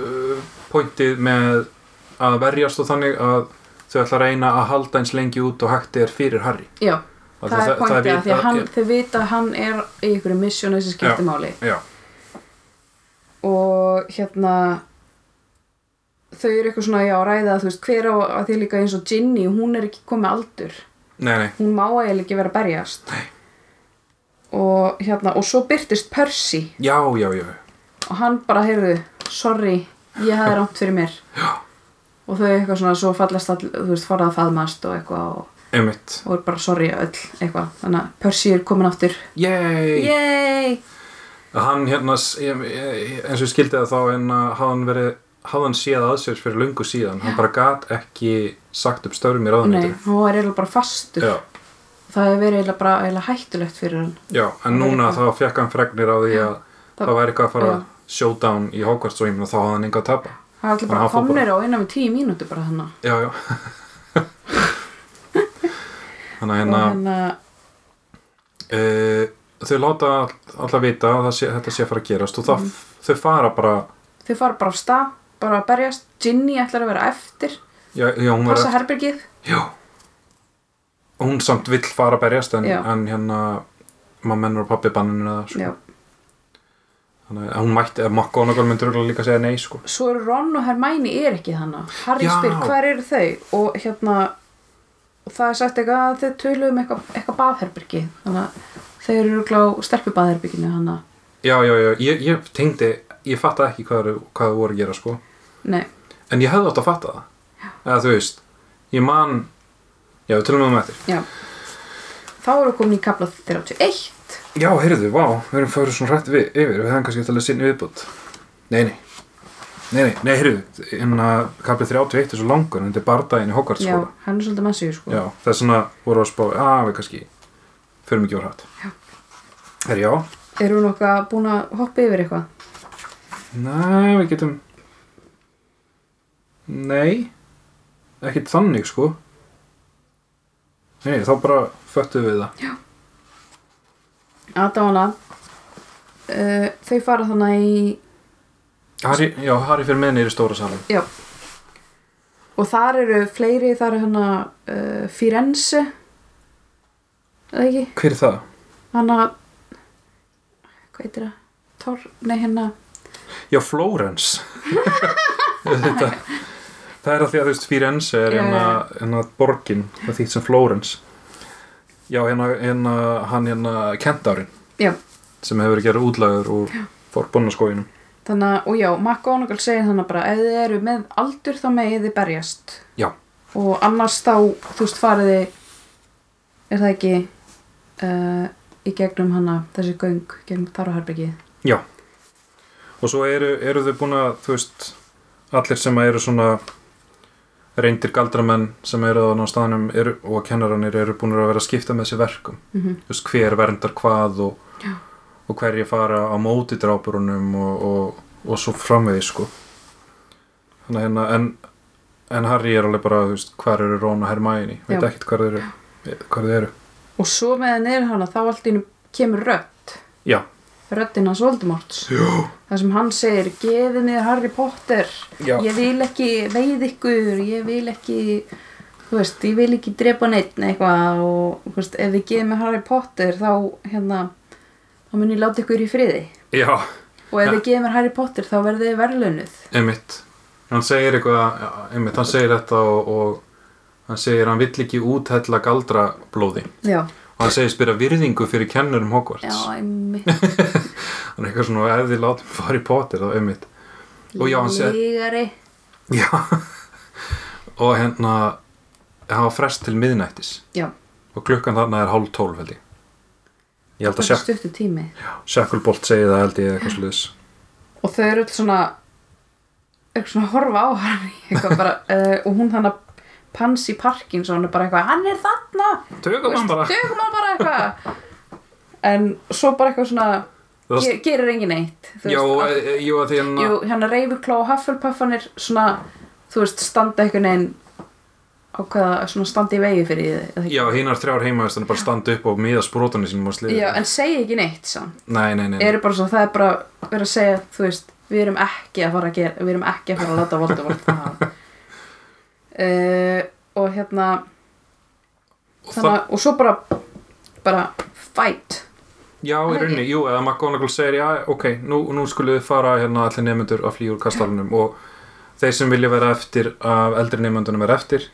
Speaker 1: uh, pointið með að verjast og þannig að þau ætla að reyna að halda eins lengi út og hægt er fyrir Harry
Speaker 2: já,
Speaker 1: Af
Speaker 2: það er pointið að
Speaker 1: vit-
Speaker 2: því að hann,
Speaker 1: er-
Speaker 2: þau vita að hann er í einhverju missjónu sem skiptir
Speaker 1: Já.
Speaker 2: máli
Speaker 1: Já,
Speaker 2: og hérna þau eru eitthvað svona já ræða þú veist hver á að því líka eins og Ginny hún er ekki komið aldur
Speaker 1: nei, nei,
Speaker 2: hún má eiginlega ekki vera að berjast Nei. og hérna og svo byrtist Percy
Speaker 1: já, já, já
Speaker 2: og hann bara heyrðu sorry ég hefði rámt fyrir mér já. og þau eitthvað svona svo fallast all, þú veist farað að faðmast og eitthvað og,
Speaker 1: Einmitt,
Speaker 2: og er bara sorry öll eitthvað þannig að Percy er komin aftur
Speaker 1: yey
Speaker 2: yey
Speaker 1: Hann hérna, s- ég- ég- eins og ég skildi það þá en að hafðan verið hafðan séð að sér fyrir löngu síðan hann bara gat ekki sagt upp störum í
Speaker 2: Nei,
Speaker 1: ráðuneytinu
Speaker 2: hann var eiginlega bara fastur
Speaker 1: Já,
Speaker 2: Það hefur verið eiginlega bara eiginlega hættulegt fyrir hann
Speaker 1: já, en núna þá fekk hann fregnir á því að
Speaker 2: Það-
Speaker 1: það væri eitthvað að fara
Speaker 2: já.
Speaker 1: showdown í Hogwarts og ég meina þá hafði hann enga að tapa
Speaker 2: Það er allir
Speaker 1: Hann
Speaker 2: bara
Speaker 1: fór
Speaker 2: komnir á innan við tíu mínútu bara hann
Speaker 1: Já, já Þannig að
Speaker 2: Og
Speaker 1: hérna
Speaker 2: hérna,
Speaker 1: uh, þau láta alltaf vita að það sé, þetta sé að fara að gerast og
Speaker 2: Mm.
Speaker 1: það, þau fara bara
Speaker 2: þau fara bara á stað bara að berjast, Ginny ætlar að vera eftir
Speaker 1: já, já, hún var
Speaker 2: passa
Speaker 1: eftir,
Speaker 2: herbergið
Speaker 1: já hún samt vill fara að berjast en,
Speaker 2: Já.
Speaker 1: en hérna mamma hennar og pappi banninu það sko.
Speaker 2: Já.
Speaker 1: þannig að hún mætti að makka og nokkur myndur örugglega líka að segja nei sko
Speaker 2: Svo eru Ron og Hermæni er ekki þannig Harry
Speaker 1: Já.
Speaker 2: spyr hver eru þau og hérna og það er sagt eitthvað að þau töluðum eitthvað, eitthvað baðherbergi þannig að þau eru örugglega á stelpu baðherberginu hann
Speaker 1: já, já, já, ég, ég tengdi ég fatta ekki hvað, eru- hvað þau voru að gera sko
Speaker 2: Nei,
Speaker 1: en ég hefði átt að fatta það eða þú veist, ég man já, við tölum um það eftir
Speaker 2: já Þá eru komin í kapla 31
Speaker 1: já, heyrðu, vá, við erum fyrir svona rætt við, yfir við hefum kannski eftir að sinni viðbútt nei, nei Nei, nei, nei, heyrðu, hérna, en að kaplið 31 er svo langur, en þetta er bardaginn í Hogwarts
Speaker 2: Já,
Speaker 1: skóla.
Speaker 2: hann er svolítið massíu sko
Speaker 1: Sko. Já, það er svona voru að spá, að við kannski förum ekki úr hatt. Já. Er já?
Speaker 2: Er hún okkar búin að hoppa yfir eitthvað?
Speaker 1: Nei, við getum... Nei, ekkert þannig sko. Nei, þá bara föttum við það.
Speaker 2: Adana uh, Þau fara þannig í
Speaker 1: Harry, já, Harry fyrir með neyri stóra salin.
Speaker 2: Já Og þar eru fleiri, þar er hana uh, Firenze Eða ekki?
Speaker 1: Hver er það?
Speaker 2: Hanna Hvað heitir það? Tor, nei hérna
Speaker 1: Já, Florence. þetta, það er að því að þú veist Firenze er
Speaker 2: Já,
Speaker 1: hérna,
Speaker 2: já,
Speaker 1: hérna borgin, það þýtt sem Florence. Já, hérna, hérna, hann hérna kentárin.
Speaker 2: Já,
Speaker 1: sem hefur verið gerð útlagur úr forbunnaskóginum
Speaker 2: þannig að, og já, McGonagall segir þannig bara ef þið eru með aldur þá megið þið berjast
Speaker 1: já,
Speaker 2: og annars þá, þú veist, fariði er það ekki uh, í gegnum hana þessi göng, gegnum Tarvaherbergið
Speaker 1: já og svo eru, eru þau búin að þú veist, allir sem eru svona reyndir galdramenn sem eru þarna á staðnum eru, og kennaranir eru búin að vera að skipta með þessi verkum
Speaker 2: mm -hmm.
Speaker 1: þú veist, hver verndar hvað og,
Speaker 2: Já.
Speaker 1: og hverju fara á móti drápurunum og, og, og svo framvegi sko Þannig, að hérna, en, en Harry er alveg bara þú veist, hvar eru Ron og Hermione veit
Speaker 2: Já.
Speaker 1: ekkert hvar þeir eru, hvar þeir eru.
Speaker 2: og svo meðan er hana þá allt í einu kemur rödd
Speaker 1: já,
Speaker 2: Það röddin hans Voldemorts
Speaker 1: Jú.
Speaker 2: þar sem hann segir, gefið mér Harry Potter
Speaker 1: Já.
Speaker 2: ég vil ekki veið ykkur ég vil ekki þú veist, ég vil ekki drepa neitt eitthvað og þú veist, ef þið gefið mér Harry Potter þá hérna þá mun ég láta ykkur í friði
Speaker 1: Já,
Speaker 2: og ef
Speaker 1: Ja.
Speaker 2: þið gefið mér Harry Potter þá verðið þið verðlunuð
Speaker 1: einmitt. Hann segir eitthvað, já, einmitt, hann segir þetta og, og hann segir hann vill ekki úthella galdra blóði.
Speaker 2: já,
Speaker 1: Og hann segist byrja virðingu fyrir kennurum Hogwarts.
Speaker 2: já, einmitt
Speaker 1: Hann er eitthvað svona, ef þið látum fara í potir þá einmitt. Og já, hann segir-
Speaker 2: Lygari.
Speaker 1: Já. og hérna, hafa frest til miðnættis.
Speaker 2: já,
Speaker 1: Og klukkan þarna er hálf tólf held ég. Ég held að
Speaker 2: þetta er
Speaker 1: Shack-
Speaker 2: stuttu tími
Speaker 1: Shacklebolt segi það held ég eða eitthvað sluðis.
Speaker 2: og þau eru öll svona eitthvað svona að horfa á Harry eitthvað bara, uh, og hún þannig að Pansy Parkinson er bara eitthvað hann er þarna,
Speaker 1: Tökum hann bara.
Speaker 2: dögum hann bara eitthvað en svo bara eitthvað svona
Speaker 1: Það-
Speaker 2: ge gerir engin eitt þú
Speaker 1: Já,
Speaker 2: veist,
Speaker 1: e- e- jú, að því
Speaker 2: að,
Speaker 1: hérna,
Speaker 2: jú, hérna Ravenclaw og Hufflepuff hann er svona, þú veist, standa eitthvað neginn ákveða svona standa í vegi fyrir þið eða ekki?
Speaker 1: já, hinar þrjár heimavistan bara standa upp og miða sprótunni sínum á sliðið.
Speaker 2: Já, en segja ekki neitt samt
Speaker 1: Nei, nei, nei. nei.
Speaker 2: eru bara svo, það er bara verið að segja, þú veist, við erum ekki að fara að gera, við erum ekki að fara að láta Voldemort það uh, og hérna
Speaker 1: Og
Speaker 2: þannig, að- og svo bara bara fight
Speaker 1: Já, í rauninni, jú, eða McGonagall segir já, ok, nú, nú skulum við fara hérna allir nefnendur að flýja úr kastalunum og þeir sem vilja vera eftir af eldri nefnendunum er eftir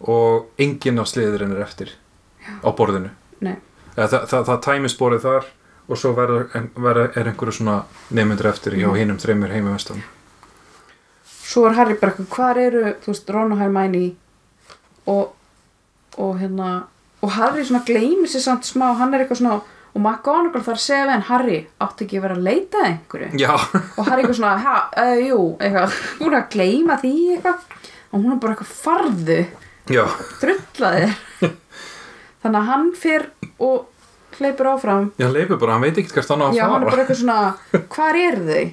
Speaker 1: og enginn af sliðurinn er eftir á borðinu
Speaker 2: Nei.
Speaker 1: eða, það, það, það tæmis borðið þar og svo verður, en- verður, er einhverju svona nefnendur eftir hjá
Speaker 2: Mm.
Speaker 1: hinum þreymur heimi vestan
Speaker 2: svo er Harry bara eitthvað, hvar eru þú veist, Ron og Hermione og, og hérna og Harry svona gleymir sér samt smá hann er eitthvað svona, og McGonagall þarf að segja við hann Harry, áttu ekki að vera að leita að einhverju
Speaker 1: Já,
Speaker 2: og Harry eitthvað svona, ha, uh, jú eitthvað, hún er að gleyma því eitthvað og hún er bara eitthvað farðu
Speaker 1: já,
Speaker 2: drulla þér þannig að hann fyrr og hleypur áfram
Speaker 1: já, leipur bara, hann veit ekkert hvert hann á að
Speaker 2: já, hann er
Speaker 1: fara
Speaker 2: bara eitthvað svona, hvar eru þau?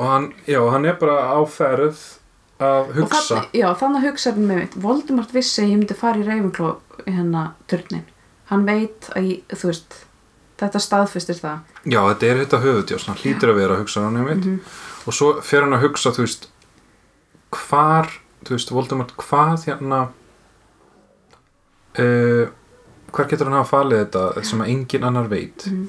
Speaker 1: og hann, já, hann er bara á ferð að
Speaker 2: Og
Speaker 1: hugsa
Speaker 2: þannig, já, þannig að hugsa hann með mitt Voldemort vissi að ég myndi fara í Ravenclaw hérna, turnin hann veit að ég, þú veist þetta staðfistir það
Speaker 1: Já, þetta er þetta höfudjós, hann hlýtur að vera að hugsa hann einmitt
Speaker 2: Mhm.
Speaker 1: og svo fer hann að hugsa, þú veist hvar, þú veist, Voldemort hvað hérna uh, hvar getur hann hafa falið þetta sem að engin annar veit
Speaker 2: Mhm.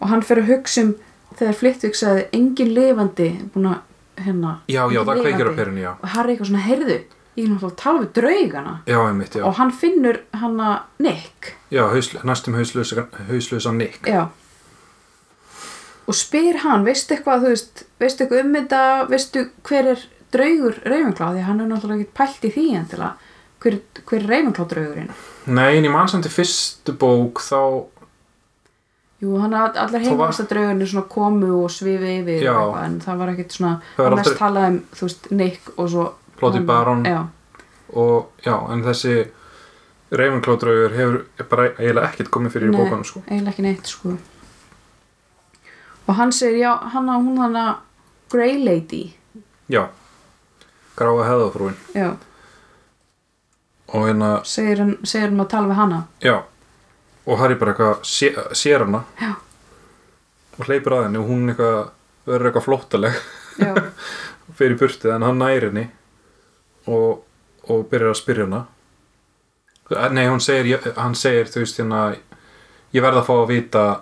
Speaker 2: og hann fyrir að hugsa um þegar Flitwick sagði engin lifandi búin að hérna
Speaker 1: Já, já,
Speaker 2: enginn
Speaker 1: það kveikir
Speaker 2: lifandi."
Speaker 1: á perunni, já
Speaker 2: og Harry eitthvað svona, heyrðu, ég er náttúrulega að tala við draugana
Speaker 1: Já, einmitt, já,
Speaker 2: og hann finnur hana Nick
Speaker 1: já hausl, næstum hauslösa, hauslösa Nick
Speaker 2: já. og spyr hann, veistu eitthvað þú veist, veistu eitthvað um þetta veistu hver er draugur Ravenclaw því að hann er náttúrulega ekki pælt í því endilega hver, hver er Ravenclaw draugurinn
Speaker 1: Nei, en ég mann samt í fyrstu bók þá,
Speaker 2: jú, hann all- allar
Speaker 1: Það var-
Speaker 2: heimasta draugurinn er svona komu og svifi yfir
Speaker 1: Já.
Speaker 2: og eitthvað, en það var ekkit svona
Speaker 1: Það var
Speaker 2: hann mest
Speaker 1: aldrei-
Speaker 2: talað um, þú veist, Nick og svo
Speaker 1: Plotty
Speaker 2: hann-
Speaker 1: Baron.
Speaker 2: já,
Speaker 1: og já, en þessi Ravenclaw draugur hefur bara eiginlega ekkert komið fyrir í
Speaker 2: Nei.
Speaker 1: bókanum, sko
Speaker 2: eiginlega ekki neitt sko og hann segir, já, hann á hún hana Grey Lady
Speaker 1: Já, gráa heðafrúin
Speaker 2: já,
Speaker 1: og hérna,
Speaker 2: segir hann, segir hann að tala við hana
Speaker 1: Já, og Harry bara eitthvað sé- sér hana
Speaker 2: Já.
Speaker 1: og hleypur að henni og hún eitthvað verður eitthvað flóttaleg
Speaker 2: já,
Speaker 1: og fer í burtið en hann næri henni og, og byrjar að spyrja hana Eh, Nei, hún segir, ég- hann segir, þú veist, hérna ég verð að fá að vita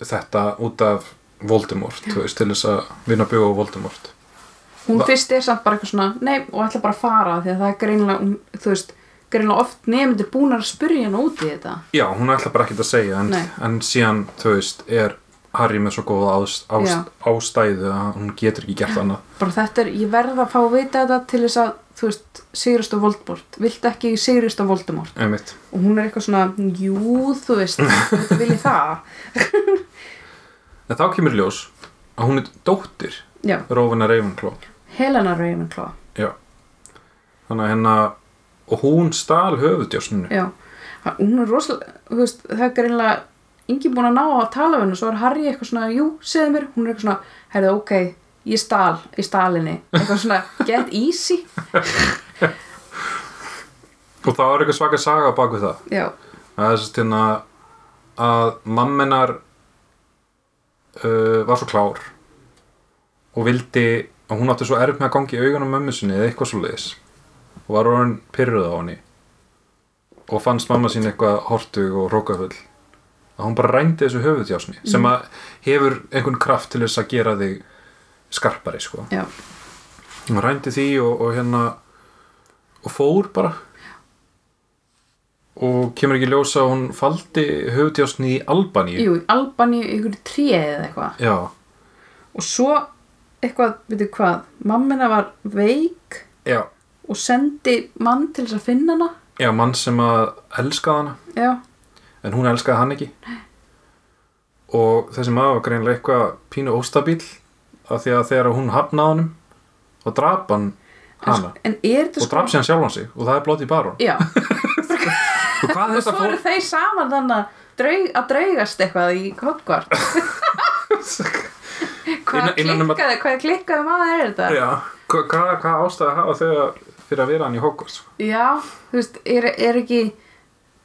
Speaker 1: þetta út af Voldemort, þú veist, til þess að vinna að byggja á Voldemort
Speaker 2: hún
Speaker 1: Va-
Speaker 2: fyrst er samt bara eitthvað svona nei, og ætla bara að fara því að það er greinlega hún- þú veist, greinlega oft nefndir búnar að spyrja hann út í þetta
Speaker 1: Já, hún ætla bara ekkert að segja en,
Speaker 2: Nei.
Speaker 1: en síðan, þú veist, er Harry með svo góða ást,
Speaker 2: Já.
Speaker 1: ást, ástæðu að hún getur ekki gert annað
Speaker 2: bara þetta er, ég verð að fá að vita þetta til þess að, þú veist, sigrast á Voldemort vilt ekki sigrast á Voldemort
Speaker 1: Einmitt.
Speaker 2: og hún er eitthvað svona, jú, þú veist þetta vil ég það
Speaker 1: En þá kemur í ljós að hún er dóttir
Speaker 2: já,
Speaker 1: Rófana Ravenclaw
Speaker 2: Helena Ravenclaw
Speaker 1: þannig að hennar og hún stal höfudjásninu
Speaker 2: já, Ha- hún er rosalega þú veist, það er greinlega engin búin að ná að tala við henni og svo er Harry eitthvað svona, jú, segðu mér hún er eitthvað svona, herðu, ok, ég stal ég stal henni, eitthvað svona get easy,
Speaker 1: og það var eitthvað svaka saga á bak við það
Speaker 2: já
Speaker 1: að þess að hérna að mammenar uh, var svo klár og vildi og hún átti svo erf með að gangi í augunum mömmu sinni eða eitthvað svo leiðis og var orðin pyrruð á henni og fannst mamma sín eitthvað hortug og rókafull að hún bara rændi þessu höfuðjásni sem að hefur einhvern kraft til þess að gera þig skarpari sko
Speaker 2: já,
Speaker 1: hún rændi því og, og hérna og fór bara og kemur ekki ljósa að hún faldi höfutjásni í Albaníu
Speaker 2: jú, Albaníu ykkur tríið eða eitthvað
Speaker 1: já,
Speaker 2: og svo eitthvað, veitu hvað mammina var veik
Speaker 1: já,
Speaker 2: og sendi mann til þess að finna hana
Speaker 1: já, mann sem að elskaði hana
Speaker 2: já,
Speaker 1: en hún elskaði hann ekki og þessi maður var greinlega eitthvað pínu óstabíl af því að þegar hún hafnaði honum þá drap hann
Speaker 2: en,
Speaker 1: hana
Speaker 2: en er þetta sko-
Speaker 1: og draf sér hann sjálfan sig og það er blótt í barun
Speaker 2: já,
Speaker 1: og hvað þetta
Speaker 2: svo
Speaker 1: fór
Speaker 2: eru þeir saman þannig að, draug, að draugast eitthvað í Hogwarts hvað
Speaker 1: Innan- innan um að-
Speaker 2: klikkaði, hvað klikkaði maður er þetta
Speaker 1: já, hvað, hvað, hvað ástæði hafa þau að- fyrir að vera hann í Hogwarts
Speaker 2: Já, þú veist, er, er ekki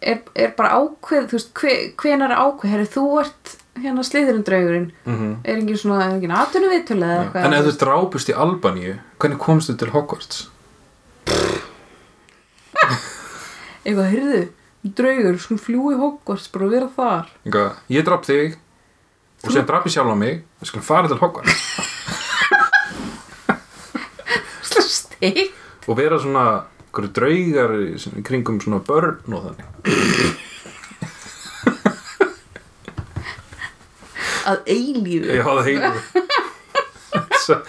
Speaker 2: er, er bara ákveð þú veist, hve, hvenar er ákveð, herri, þú ert hérna sliðurinn draugurinn
Speaker 1: Mhm.
Speaker 2: er engin svona, er engin atunum viðtölu eða
Speaker 1: en ef
Speaker 2: eitthvað
Speaker 1: þau drápust í Albaníu hvernig komst þau til Hogwarts?
Speaker 2: eitthvað, heyrðu, draugur, skulum fljúi Hogwarts bara og vera þar
Speaker 1: Eitthvað, ég drap þig og sem drapi sjálf á mig við skulum fara til Hogwarts
Speaker 2: Slá steik
Speaker 1: og vera svona hverju draugar í svona- í kringum svona börn og þannig
Speaker 2: að eilíðu
Speaker 1: ég hafa það heilu Svo-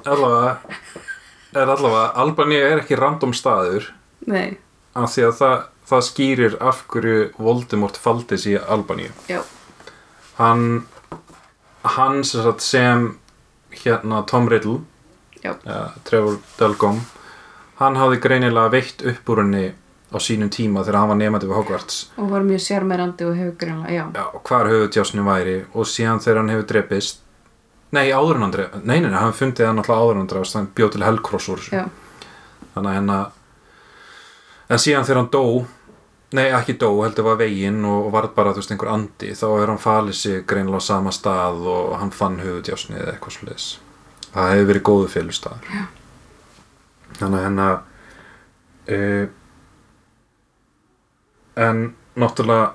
Speaker 1: allavega er allavega Albaníu er ekki random staður
Speaker 2: Nei,
Speaker 1: af því að það, það skýrir af hverju Voldemort faldis í Albaníu
Speaker 2: já,
Speaker 1: hann hann sem, sagt sem hérna Tom Riddle
Speaker 2: já,
Speaker 1: uh, Trevor Dalgom hann hafði greinilega veitt upp úr henni á sínum tíma þegar hann var nefandi við Hogwarts
Speaker 2: og var mjög sérmerandi og hefur greinlega, já
Speaker 1: Já, hvar höfutjásni væri og síðan þegar hann hefur drepist nei, áður en hann drepist nei, nei, nei, hann fundið hann alltaf áður en hann drepist hann bjóð til Helcross úr þessu.
Speaker 2: Já,
Speaker 1: þannig að henn að en síðan þegar hann dó nei, ekki dó, heldur var veginn og, og varð bara, þú veist, einhver andi þá er hann falið sig greinilega á sama stað og hann fann höfutjásni eða eitthvað svoleiðis það hefur verið góðu félustaður Já. þannig að hérna, henn að uh, en náttúrulega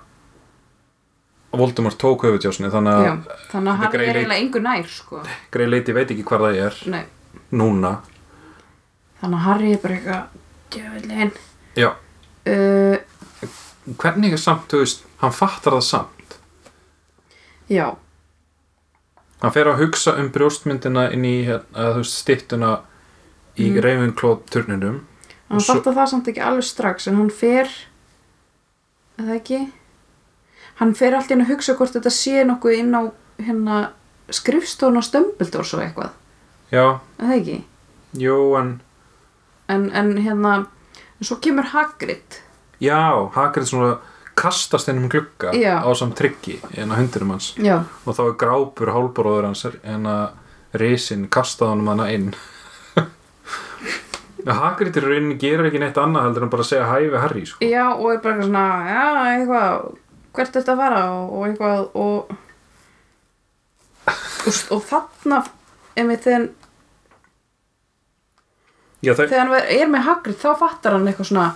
Speaker 1: Voldemort tók höfutjásni þannig
Speaker 2: já,
Speaker 1: að
Speaker 2: þannig að
Speaker 1: Þetta
Speaker 2: hann er
Speaker 1: greinir-
Speaker 2: eiginlega engu nær, sko
Speaker 1: greileiti veit ekki hvar það er
Speaker 2: Nei,
Speaker 1: núna
Speaker 2: þannig að Harry er bara eitthvað djöfullin
Speaker 1: Já.
Speaker 2: uh,
Speaker 1: hvernig er samt, þú veist, hann fattar það samt
Speaker 2: Já,
Speaker 1: hann fer að hugsa um brjóstmyndina inn í hérna, þú veist, stittuna í mm. Ravenclaw turninum
Speaker 2: Hann
Speaker 1: Og svo-
Speaker 2: fattar það samt ekki alveg strax en hann fer eða ekki hann fer alltaf inn að hugsa hvort þetta sé nokkuð inn á hérna skrifstofun og stömbildór svo eitthvað
Speaker 1: já,
Speaker 2: eða ekki
Speaker 1: jú, en
Speaker 2: en, en hérna en svo kemur Hagrid
Speaker 1: já, Hagrid svona kastast inn um glugga
Speaker 2: Já.
Speaker 1: á samt tryggi en að hundurum hans
Speaker 2: Já,
Speaker 1: og þá er grápur hálbróður hans en að risin kastað honum hana inn Já, Hagrid í rauninni gerir ekki neitt annað heldur en bara að segja hæ við Harry sko.
Speaker 2: já og er bara eitthvað svona já, eitthvað, hvert þetta að fara og, og eitthvað og og, og þarna emi, þegar,
Speaker 1: já, þau,
Speaker 2: þegar hann er með Hagrid þá fattar hann eitthvað svona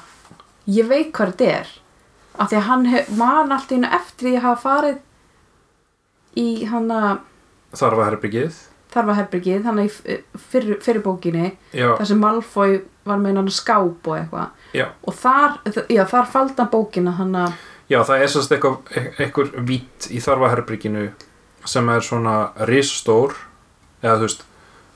Speaker 2: ég veit hvað þetta er af því að hann hef, man allt í hennu eftir því að hafa farið í hana
Speaker 1: þar var herbyggið
Speaker 2: þarfaherbergið hana í fyrir, fyrir bókinni
Speaker 1: já,
Speaker 2: þar sem Malfoy var með hann skáp og eitthvað
Speaker 1: já,
Speaker 2: og þar, já, þar falda bókina hana,
Speaker 1: Já, það er sérst eitthvað eitthvað vít í þarfaherbyrginu sem er svona risstór eða þú veist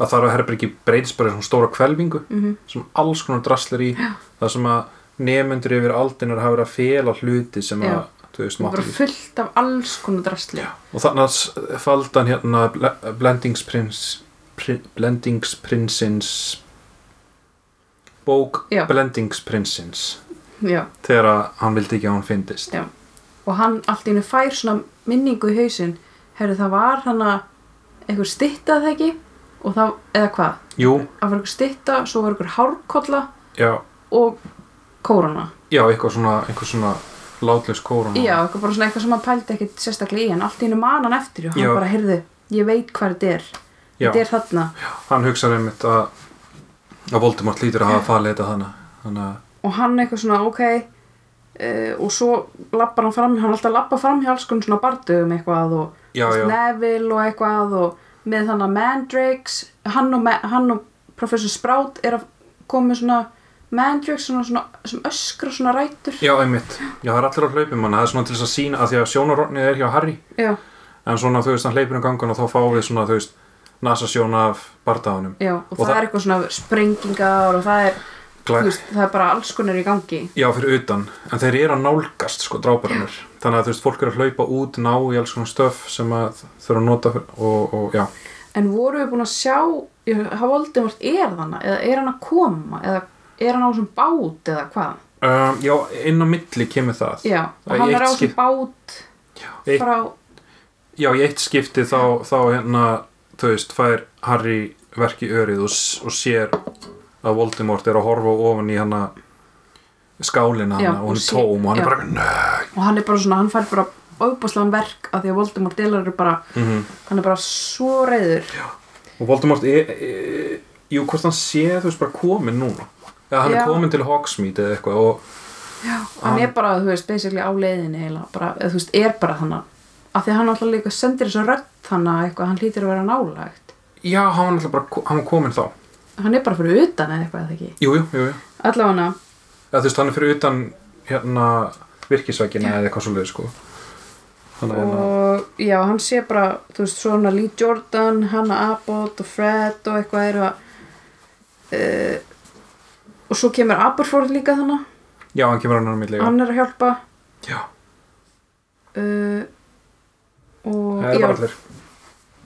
Speaker 1: að þarfaherbyrgi breytist bara í svona stóra kvelvingu
Speaker 2: mhm,
Speaker 1: -hmm. sem alls konar draslir í Já. það sem að nefnendur yfir aldinar hafa verið að fela hluti sem að
Speaker 2: Já.
Speaker 1: þú veist
Speaker 2: bara
Speaker 1: mátti ekki
Speaker 2: fullt af alls konar drastli
Speaker 1: og þannig að s- faldan hérna ble- blendingsprins pri, blendingsprinsins bók
Speaker 2: Já.
Speaker 1: blendingsprinsins
Speaker 2: já,
Speaker 1: þegar að hann vildi ekki að hann fyndist
Speaker 2: já. og hann allt í hennu fær svona minningu í hausinn herru það var hana eitthvað styttað ekki og það, eða hvað
Speaker 1: Jú,
Speaker 2: að var ykkur stytta, svo var ykkur hárkolla
Speaker 1: já
Speaker 2: og kórona
Speaker 1: Já, eitthvað svona, eitthvað svona látlaus kórun
Speaker 2: Já, eitthvað bara svona eitthvað sem hann pældi ekkert sérstaklega í en allt í hennu man hann eftir og hann
Speaker 1: Já.
Speaker 2: bara, heyrðu, ég veit hvað þetta er
Speaker 1: Já.
Speaker 2: þetta er þarna
Speaker 1: hann hugsaði einmitt að að Voldemort lítur að hafa falið þetta þannig þannig að
Speaker 2: og hann eitthvað svona, ok uh, og svo lappar hann fram hann er alltaf lappa fram hjá alls konar svona bardugum eitthvað og
Speaker 1: Já, já.
Speaker 2: Neville og eitthvað og með þannig að Mandrakes hann og, Ma- hann og Professor Sprout er að koma með svona Mandrakes svona, svona, sem öskra svona rætur
Speaker 1: já einmitt, já það er allir á hlaupum hann það er svona til þess að sína að því að sjónarornið er hjá Harry
Speaker 2: Já,
Speaker 1: en svona þú veist hann hleypur um gangan og þá fáum við svona þú veist nasasjón af bardaðunum
Speaker 2: já og,
Speaker 1: Og
Speaker 2: það,
Speaker 1: það-
Speaker 2: er eitthvað svona sprengingar og það er, þú
Speaker 1: Glæ-
Speaker 2: veist, það er bara alls konar í gangi
Speaker 1: Já, fyrir utan, en þeir eru að nálgast sko dráparannir, þannig að þú veist, fólk eru að hlaupa út, ná í alls konar stöf sem að þurfa að nota fyr- og, og já,
Speaker 2: En voru við búin að sjá hafa Voldemort er þannig eða er hann að koma eða er hann á þessum bát eða hvað?
Speaker 1: um, já, inn á milli kemur það
Speaker 2: Já,
Speaker 1: Það
Speaker 2: og hann
Speaker 1: er
Speaker 2: er
Speaker 1: eitt
Speaker 2: á þessum
Speaker 1: skip-
Speaker 2: bát
Speaker 1: Eitt-
Speaker 2: frá
Speaker 1: Já, í eitt skipti þá, þá hérna, þú veist, fær Harry verk í örið og, s- og sér að Voldemort er að horfa ofan í hana skálina
Speaker 2: Já,
Speaker 1: hana og
Speaker 2: og
Speaker 1: hann er
Speaker 2: sé-
Speaker 1: tóm og hann
Speaker 2: já.
Speaker 1: er bara, nöööö
Speaker 2: og hann er bara svona, hann fær bara óbúslegan verk af því að Voldemort delar er bara
Speaker 1: Mhm.
Speaker 2: hann er bara svo reyður
Speaker 1: Og Voldemort er, er, jú, hvort hann sé, þú veist, bara komin núna Já, hann
Speaker 2: Já.
Speaker 1: er komin til Hogsmeade eða eitthvað og
Speaker 2: hann er bara, þú veist, basically á leiðinni heila, bara, eða, þú veist, er bara þannig af því að hann alltaf líka sendir þessu rödd þannig að eitthvað, hann hlýtir að vera nálægt
Speaker 1: já, hann var náttúrulega bara, ko- hann var komin þá
Speaker 2: hann er bara fyrir utan eða eitthvað, eða ekki
Speaker 1: Jú, jú, jú, jú.
Speaker 2: allavega
Speaker 1: Eða, þú veist, hann er fyrir utan hérna virkisveggina eða eitthvað svo leið, sko. Þannig að hérna,
Speaker 2: og já, hann sé bara þú veist, svona Lee Jordan, Hannah Abbott og Fred og eitthvað eru að uh, og svo kemur Aberforth líka þannig
Speaker 1: já, hann kemur hann á milli, já.
Speaker 2: hann er að hjálpa
Speaker 1: Já,
Speaker 2: uh, og
Speaker 1: það er
Speaker 2: já,
Speaker 1: bara allir.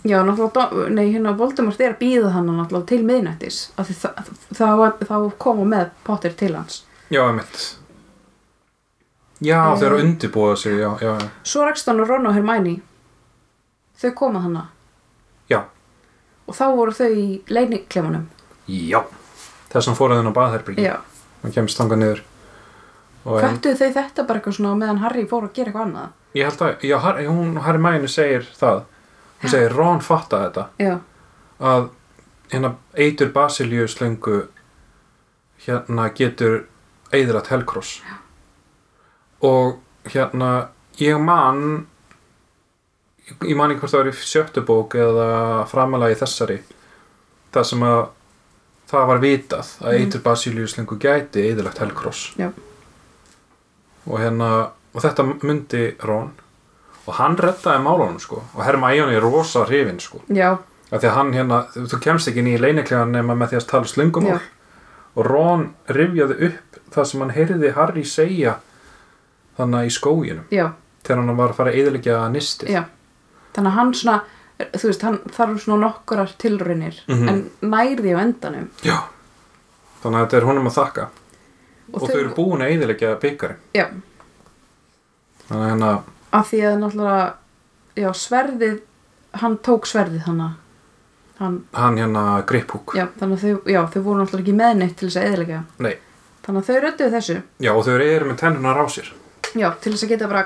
Speaker 2: já, náttúrulega Don- nei, hérna Voldemort er að býða hann náttúrulega til miðnættis af því það, það, það, það koma með Potter til hans
Speaker 1: Já, emitt. Já,
Speaker 2: Mm.
Speaker 1: þeir eru að undirbúa sig, já, já, já.
Speaker 2: svo rekst hann og Ron og Hermione þau koma þannig
Speaker 1: Já,
Speaker 2: og þá voru þau í leiniklemanum
Speaker 1: já. Þess að hann fór að henn á baðherbyrgi.
Speaker 2: já
Speaker 1: Hann kemst þangað niður. Og en,
Speaker 2: Fættu þau þetta bara eitthvað svona á meðan Harry fór að gera eitthvað annað?
Speaker 1: ég held að, já, Harry, hún, Harry Mæni segir það. Hún segir, Ron fatta þetta.
Speaker 2: Já,
Speaker 1: að hérna eitur basilíu slöngu hérna getur eiðrat helkross og hérna ég man ég man ekki hvort það var í sjöttu bók eða framalagi þessari það sem að það var vitað að eitur basilíu slöngu gæti eiðrat helkross
Speaker 2: já,
Speaker 1: og hérna og þetta myndi Rón og hann reddaði málunum sko og Hermæjóni er rosa hrifin sko
Speaker 2: já,
Speaker 1: af því að hann hérna, þú þú kemst ekki inn í leiniklegan nema með því að tala slöngumál
Speaker 2: Já.
Speaker 1: og Ron rifjaði upp það sem hann heyrði Harry segja þannig að í skóginum
Speaker 2: já,
Speaker 1: þegar hann var að fara að eyðilegja nistið
Speaker 2: já. Þannig að hann svona, þú veist, hann þarf svona nokkurar tilraunir
Speaker 1: Mhm.
Speaker 2: en nærði á endanum.
Speaker 1: Já. þannig að þetta er honum að þakka og, þau eru búin að eyðilegja byggari
Speaker 2: Já,
Speaker 1: þannig að hérna,
Speaker 2: af því að náttúrulega, já, sverðið, hann tók sverðið þannig að hann,
Speaker 1: hann hérna griphúk
Speaker 2: já, þannig að þau, já, þau voru náttúrulega ekki með neitt til þess að eðilega.
Speaker 1: Nei.
Speaker 2: Þannig að þau rödduðu þessu,
Speaker 1: Já, og þau eru með tennunar á sér
Speaker 2: já, til þess að geta bara,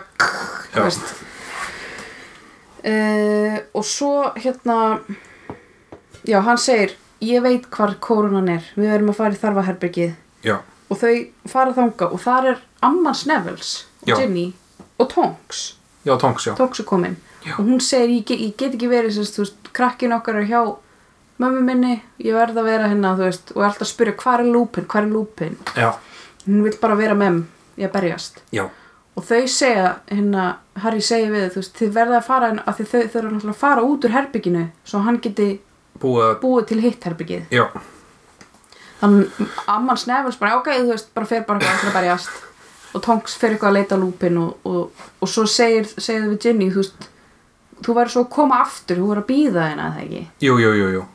Speaker 2: þú
Speaker 1: Já.
Speaker 2: veist. Uh, og svo, hérna, já, hann segir, ég veit hvar kórunan er, við verðum að fara í þarfaherbergið.
Speaker 1: Já,
Speaker 2: og þau fara þanga og þar er amman Snevels og
Speaker 1: Já.
Speaker 2: Ginny og Tonks
Speaker 1: já, tóngs, já
Speaker 2: Tonks er komin
Speaker 1: Já.
Speaker 2: og hún segir ég, ge- ég get ekki verið sérst, þú veist, krakkin okkar er hjá mömmu minni, ég verð að vera hérna þú veist, og er alltaf að spyrja hvað er lúpin, hvað er lúpin
Speaker 1: Já,
Speaker 2: hún vil bara vera með í að berjast
Speaker 1: já,
Speaker 2: og þau segja hérna, Harry segir við þau, þú veist, þið verða að fara af því þau þau eru náttúrulega að fara út úr herbygginu svo hann geti
Speaker 1: búið að
Speaker 2: búið til hitt herbyggið
Speaker 1: Já,
Speaker 2: þannig amman snefils bara ok, þú veist, bara fer bara eitthvað að berjast og Tonks fer eitthvað að leita að lúpin og, og, og svo segir, segir við Ginny, þú veist þú verður svo að koma aftur, þú verður að býða þeina það ekki,
Speaker 1: jú, jú, jú, jú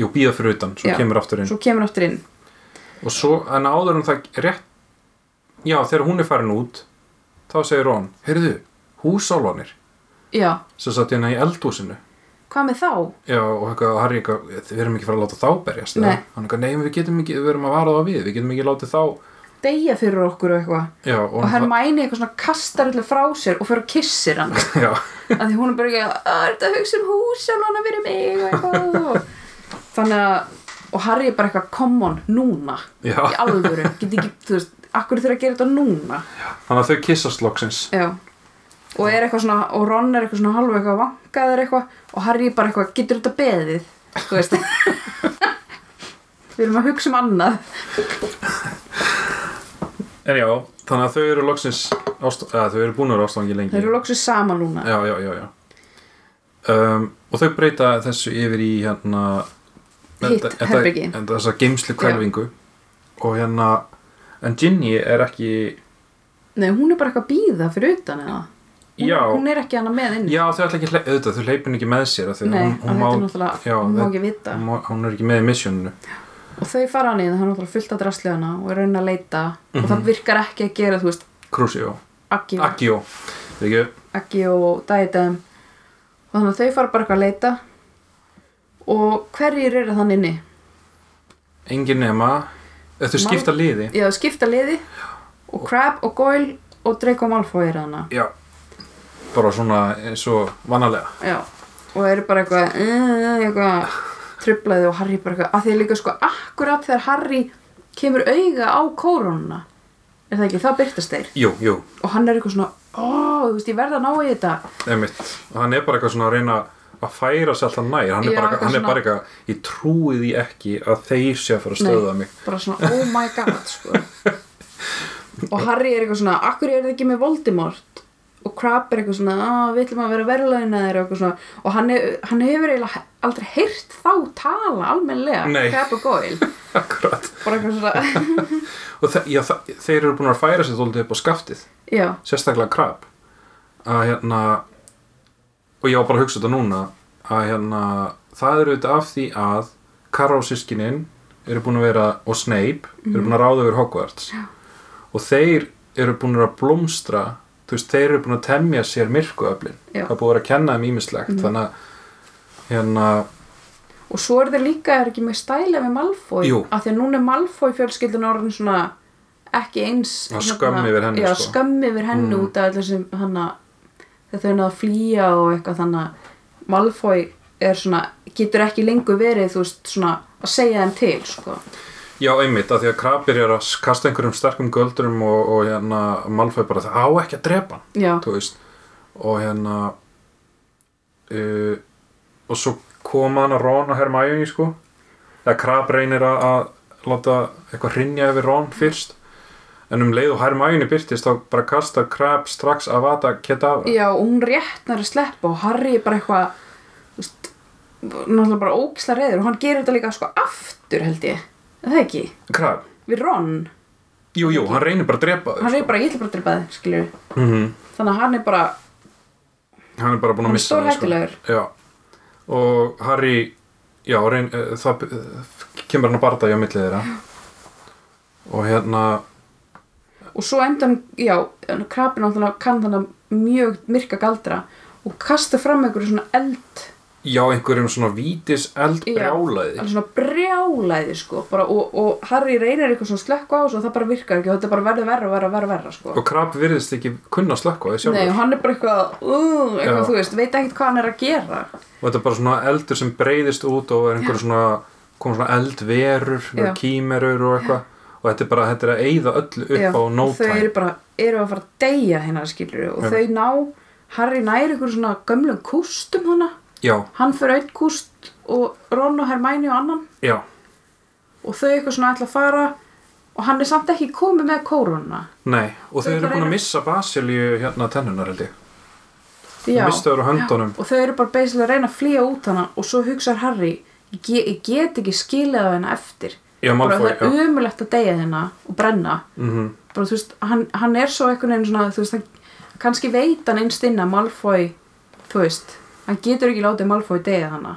Speaker 1: Jú, býða fyrir utan, svo
Speaker 2: Já.
Speaker 1: kemur aftur inn
Speaker 2: svo kemur aftur inn
Speaker 1: og svo, en áður en það rétt já, þegar hún er farin út þá segir hún, heyrðu húsálvanir,
Speaker 2: já,
Speaker 1: sem satt hérna í eldhúsinu
Speaker 2: hvað með þá?
Speaker 1: já, og eitthvað, og Harry, eitthvað, við erum ekki fara að láta þá berjast eða?"
Speaker 2: Nei.
Speaker 1: hann eitthvað, nei, við getum ekki, við erum að vara þá við við getum ekki að láta þá
Speaker 2: deyja fyrir okkur og eitthvað
Speaker 1: já, og,
Speaker 2: og Hermæni eitthvað svona kastar allir frá sér og fyrir að kissir hann af
Speaker 1: já,
Speaker 2: því hún er bara ekki að "Á, er þetta að hugsa um hús og hann að vera mig og eitthvað þannig að og Harry er bara eitthvað come on núna
Speaker 1: já.
Speaker 2: í alvöru geti ekki þú veist akkur þurfa að gera þetta núna
Speaker 1: þannig að þau kissast loksins
Speaker 2: já og er eitthvað svona og Ron er eitthvað svona halvu eitthvað vankaður eitthvað og Harry bara eitthvað getur þetta beðið þú veist við erum að hugsa um annað
Speaker 1: en já, þannig að þau eru loksins ást, eða, þau eru búin að vera ástfangi lengi
Speaker 2: þeir eru loksu saman núna
Speaker 1: já, já, já, já. Um, og þau breyta þessu yfir í hérna
Speaker 2: Hitt
Speaker 1: þetta-
Speaker 2: herbergi.
Speaker 1: þetta- þessa geimslu kvelvingu og hérna en Ginny er ekki
Speaker 2: Nei, hún er bara eitthvað að býða fyrir utan eða hún,
Speaker 1: Já.
Speaker 2: hún er ekki hana með inn
Speaker 1: já, þau ætla ekki, að hle- auðvitað, þau leipin ekki með sér af því að
Speaker 2: Nei,
Speaker 1: hún,
Speaker 2: að
Speaker 1: hún,
Speaker 2: þetta er
Speaker 1: má,
Speaker 2: náttúrulega,
Speaker 1: já,
Speaker 2: hún má
Speaker 1: þetta-
Speaker 2: ekki vita
Speaker 1: hún, má- hún er ekki með í missioninu
Speaker 2: og þau fara hann í það, hann er náttúrulega fullt að drasli hana og er að reyna að leita og það virkar ekki að gera, þú veist,
Speaker 1: Crucio,
Speaker 2: Aggi,
Speaker 1: Akio ekki,
Speaker 2: Aggi og Dædem og þannig að þau fara bara eitthvað að leita og hverjir eru þann inni?
Speaker 1: engin nema þau skipta liði
Speaker 2: Já, skipta liði og Crab og Goyle og Draco Malfoy eru hana
Speaker 1: já, bara svona eins og vanalega
Speaker 2: Já, og eru bara eitthvað, eh, eitthvað trublaði og Harry bara eitthvað, að því líka sko akkurat þegar Harry kemur auga á kórónuna, er það ekki, þá byrtast þeir
Speaker 1: jú, jú,
Speaker 2: og hann er eitthvað svona, ó, þú veist, ég verð að ná í þetta
Speaker 1: Einmitt. hann er bara eitthvað svona að reyna að færa sér alltaf nær hann er,
Speaker 2: Já,
Speaker 1: bara,
Speaker 2: eitthvað
Speaker 1: hann er
Speaker 2: svona-
Speaker 1: bara eitthvað ég trúi því ekki að þeir sé að fara að stöða mig
Speaker 2: bara svona, oh my god, sko og Harry er eitthvað svona, akkur er það ekki með Voldemort og Crab er eitthvað svona, að við ætlum að vera verðlauna þeir og eitthvað svona og hann, er, hann hefur eiginlega aldrei heyrt þá tala almennlega,
Speaker 1: Nei.
Speaker 2: Crab og Goyle
Speaker 1: akkurat
Speaker 2: bara eitthvað svona,
Speaker 1: og þe- já, þa- þeir eru búin að færa sér þóldið upp á skaftið
Speaker 2: já
Speaker 1: sérstaklega krab að hérna og ég var bara að hugsa þetta núna að hérna það eru auðvitað af því að Karó sískinin eru búin að vera og Snape eru búin að ráða yfir Hogwarts Já. og þeir eru búin að blómstra þú veist, þeir eru búin að temja sér myrkuöflin
Speaker 2: Já.
Speaker 1: það er búin að vera að kenna þeim ímislegt þannig að hérna,
Speaker 2: Og svo er þeir líka, er ekki með stæla við Malfoy?
Speaker 1: Jú.
Speaker 2: Af því að núna er Malfoy fjölskyldun orðin svona ekki eins... hérna,
Speaker 1: Já, skömm yfir henni,
Speaker 2: Já,
Speaker 1: sko.
Speaker 2: skömm yfir henni út af allir sem hann að þegar þau náðu að flýja og eitthvað þannig að Malfoy er svona, getur ekki lengur verið, þú veist, svona að segja þeim til, sko.
Speaker 1: já einmitt að því að krab byrjar að kasta einhverjum sterkum göldurum og, og hérna Malfoy bara það á ekki að drepa hann
Speaker 2: Já,
Speaker 1: þú veist og hérna uh, og svo koma hann að Ron og Hermione sko eða Krab reynir að, að láta eitthvað hrinja yfir Ron fyrst en um leið og Hermione byrtist þá bara kastar Krab strax að vata Kedavra
Speaker 2: já, og hún réttnar að sleppa og Harry er bara eitthvað, þú veist, náttúrulega bara ógisla reyður og hann gerir þetta líka sko aftur, held ég. Er Það ekki?
Speaker 1: Krab,
Speaker 2: Við Ron.
Speaker 1: jú jú, hann reynir bara að drepa þau
Speaker 2: Hann er bara, ég ætla bara að drepa þig, skiljum við.
Speaker 1: mm -hmm.
Speaker 2: þannig að hann er bara
Speaker 1: hann er bara búin að
Speaker 2: Hann er
Speaker 1: missa þau, sko.
Speaker 2: stórhættulegur.
Speaker 1: já og Harry já, reyn, uh, það uh, kemur hann að barða í að milli þeirra og hérna
Speaker 2: og svo endan, já, krabin náttúrulega kann þannig mjög myrka galdra og kasta fram einhverju svona eld
Speaker 1: Já, einhverjum svona vítis eldbrjálaði.
Speaker 2: alveg svona brjálæði sko bara, og, og Harry reynir eitthvað svona slökku á þessu og það bara virkar ekki og þetta bara verður verra, verra, verra, verra sko.
Speaker 1: Og krab virðist ekki kunna að slökka því
Speaker 2: Nei,
Speaker 1: sjálfur.
Speaker 2: og hann er bara eitthvað, uh, eitthvað
Speaker 1: Já.
Speaker 2: þú veist, veit ekkert hvað hann er að gera
Speaker 1: Og þetta er bara svona eldur sem breyðist út og er einhverjum svona, kom svona eldverur, einhverjar kímerur og eitthvað. Og þetta er bara, þetta er að eyða öllu upp
Speaker 2: Já,
Speaker 1: á no
Speaker 2: og þau
Speaker 1: time.
Speaker 2: eru bara, eru að fara að deyja hérna skilur og
Speaker 1: Já.
Speaker 2: þau ná, Harry nær einhverju svona gömlum kústum hana
Speaker 1: Já,
Speaker 2: hann fyrir einn kúst og Ron og Hermæni og annan
Speaker 1: já,
Speaker 2: og þau eitthvað svona ætla að fara og hann er samt ekki komið með kórunna
Speaker 1: nei. Og þau
Speaker 2: Þau
Speaker 1: eru
Speaker 2: bara
Speaker 1: búin
Speaker 2: eru-
Speaker 1: að missa basilju hérna tennunar held ég. Mistu þau á höndunum.
Speaker 2: og þau eru bara basically að reyna að flýja út hana og svo hugsar Harry ég, ge- ég get ekki skilið á henni eftir
Speaker 1: Já,
Speaker 2: bara
Speaker 1: Malfoy,
Speaker 2: það er umulegt að deyja hérna og brenna
Speaker 1: Mm
Speaker 2: bara þú veist, hann, hann er svo einhvern veginn svona þú veist, hann, kannski veit hann einst inn að Malfoy, þú veist hann getur ekki látið Malfoy deyja hana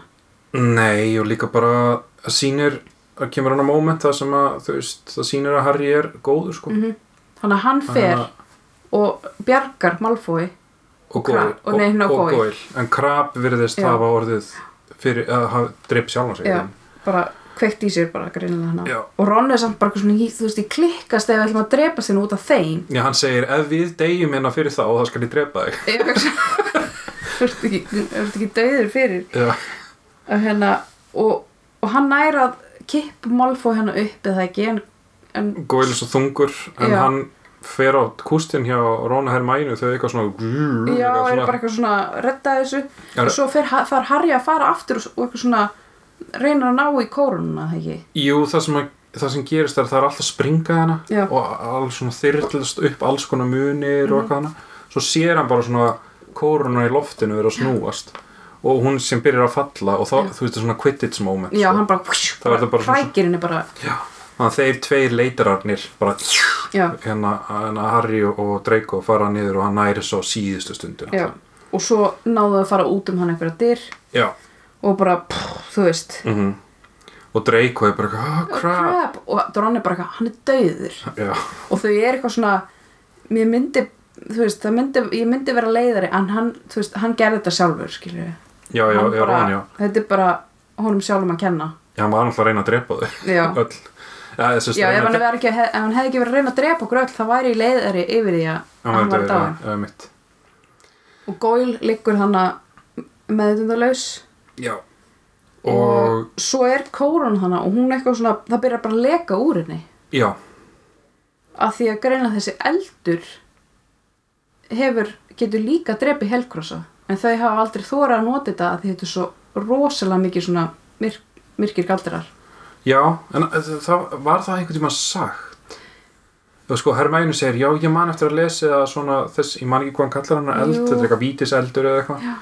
Speaker 1: Nei, og líka bara að sýnir, að kemur hann á moment það sem að, þú veist, það sýnir að Harry er góður,
Speaker 2: Mhm.
Speaker 1: sko.
Speaker 2: þannig að hann fer
Speaker 1: Þannig að-
Speaker 2: og bjargar Malfoy
Speaker 1: og
Speaker 2: Krab-
Speaker 1: Goyle
Speaker 2: og- nei, hérna,
Speaker 1: og
Speaker 2: Goyle.
Speaker 1: Goyle. en Krab virðist
Speaker 2: Já.
Speaker 1: hafa orðið fyrir að hafa dreip sjálf sig
Speaker 2: Já, bara kveikt í sér bara greinilega hana
Speaker 1: Já.
Speaker 2: og Ron er samt bara eitthvað svona, í- þú veist, ég klikkast ef við ætlum að drepa sinna út af þeim
Speaker 1: Já, hann segir, ef við deyjum hérna fyrir þá, þá skal ég drepa þig.
Speaker 2: ég veist þú ert ekki, þú ert ekki döður fyrir
Speaker 1: Já,
Speaker 2: að hérna, og, og hann nær að kipp Malfoy hérna upp eða ekki en, en
Speaker 1: góðilis og þungur, en
Speaker 2: Já.
Speaker 1: hann fer á kústinn hjá Rona Hermænu þau eitthvað svona...
Speaker 2: já,
Speaker 1: eitthvað
Speaker 2: er
Speaker 1: svona-
Speaker 2: bara eitthvað svona redda þessu
Speaker 1: Já,
Speaker 2: og svo fer, þar Harry að fara aftur og, s- og eitthvað svona reynir að ná í kórununa það ekki
Speaker 1: Jú, það sem, að, það sem gerist er að það er alltaf springa hana
Speaker 2: Já. Mhm.
Speaker 1: og alls svona þyrlast upp alls konar munir og eitthvað hana svo sér hann bara svona kóruna í loftinu vera að snúast og hún sem byrjar að falla og þá,
Speaker 2: Já.
Speaker 1: þú veist, það er svona quidditch moment
Speaker 2: já,
Speaker 1: sko.
Speaker 2: hann bara,
Speaker 1: Það verður bara svona-
Speaker 2: hrækirinn er bara
Speaker 1: Já. Þannig að þeir tveir leitararnir bara
Speaker 2: já,
Speaker 1: hérna, hérna Harry og, og Draco fara niður og hann næri svo síðustu stundina
Speaker 2: já, og svo náðu að fara út um hann einhverja dyr
Speaker 1: Já.
Speaker 2: og bara, pff, þú veist
Speaker 1: mhm. og Draco er bara eitthvað, oh, crap
Speaker 2: crap og Ron er bara eitthvað, hann er dauður
Speaker 1: Já.
Speaker 2: og þau er eitthvað svona mér myndi, þú veist, það myndi ég myndi vera leiðari, en hann, þú veist hann gerði þetta sjálfur, skilju
Speaker 1: Já, já, já,
Speaker 2: bara,
Speaker 1: Ron, já
Speaker 2: þetta er bara honum sjálfum að kenna
Speaker 1: Já, hann var alltaf að reyna að drepa þau
Speaker 2: já,
Speaker 1: öll Já, þessi
Speaker 2: já ef, hann var ekki, ef hann hefði ekki verið að reyna að drepa okkur öll þá væri ég leiðari yfir því að að hann var dáin
Speaker 1: Já, mitt
Speaker 2: og Goyle liggur þannig meðutundalaus
Speaker 1: Já Og,
Speaker 2: svo er kórun þannig og hún eitthvað svona, það byrjar bara að leka úr henni
Speaker 1: já,
Speaker 2: að því að greina þessi eldur hefur, getur líka drepið helkrossa en þau hafa aldrei þóra að nota þetta að því þetta er svo rosalega mikið svona myrk, myrkir galdrar
Speaker 1: já En eh, það, var það einhvern tíma sagt Og sko, Hermænu segir Já, ég man eftir að lesa það svona þess, Ég man ekki hvað hann kallar hann eld
Speaker 2: Jú.
Speaker 1: Þetta er eitthvað vítiseldur eða eitthvað
Speaker 2: Já.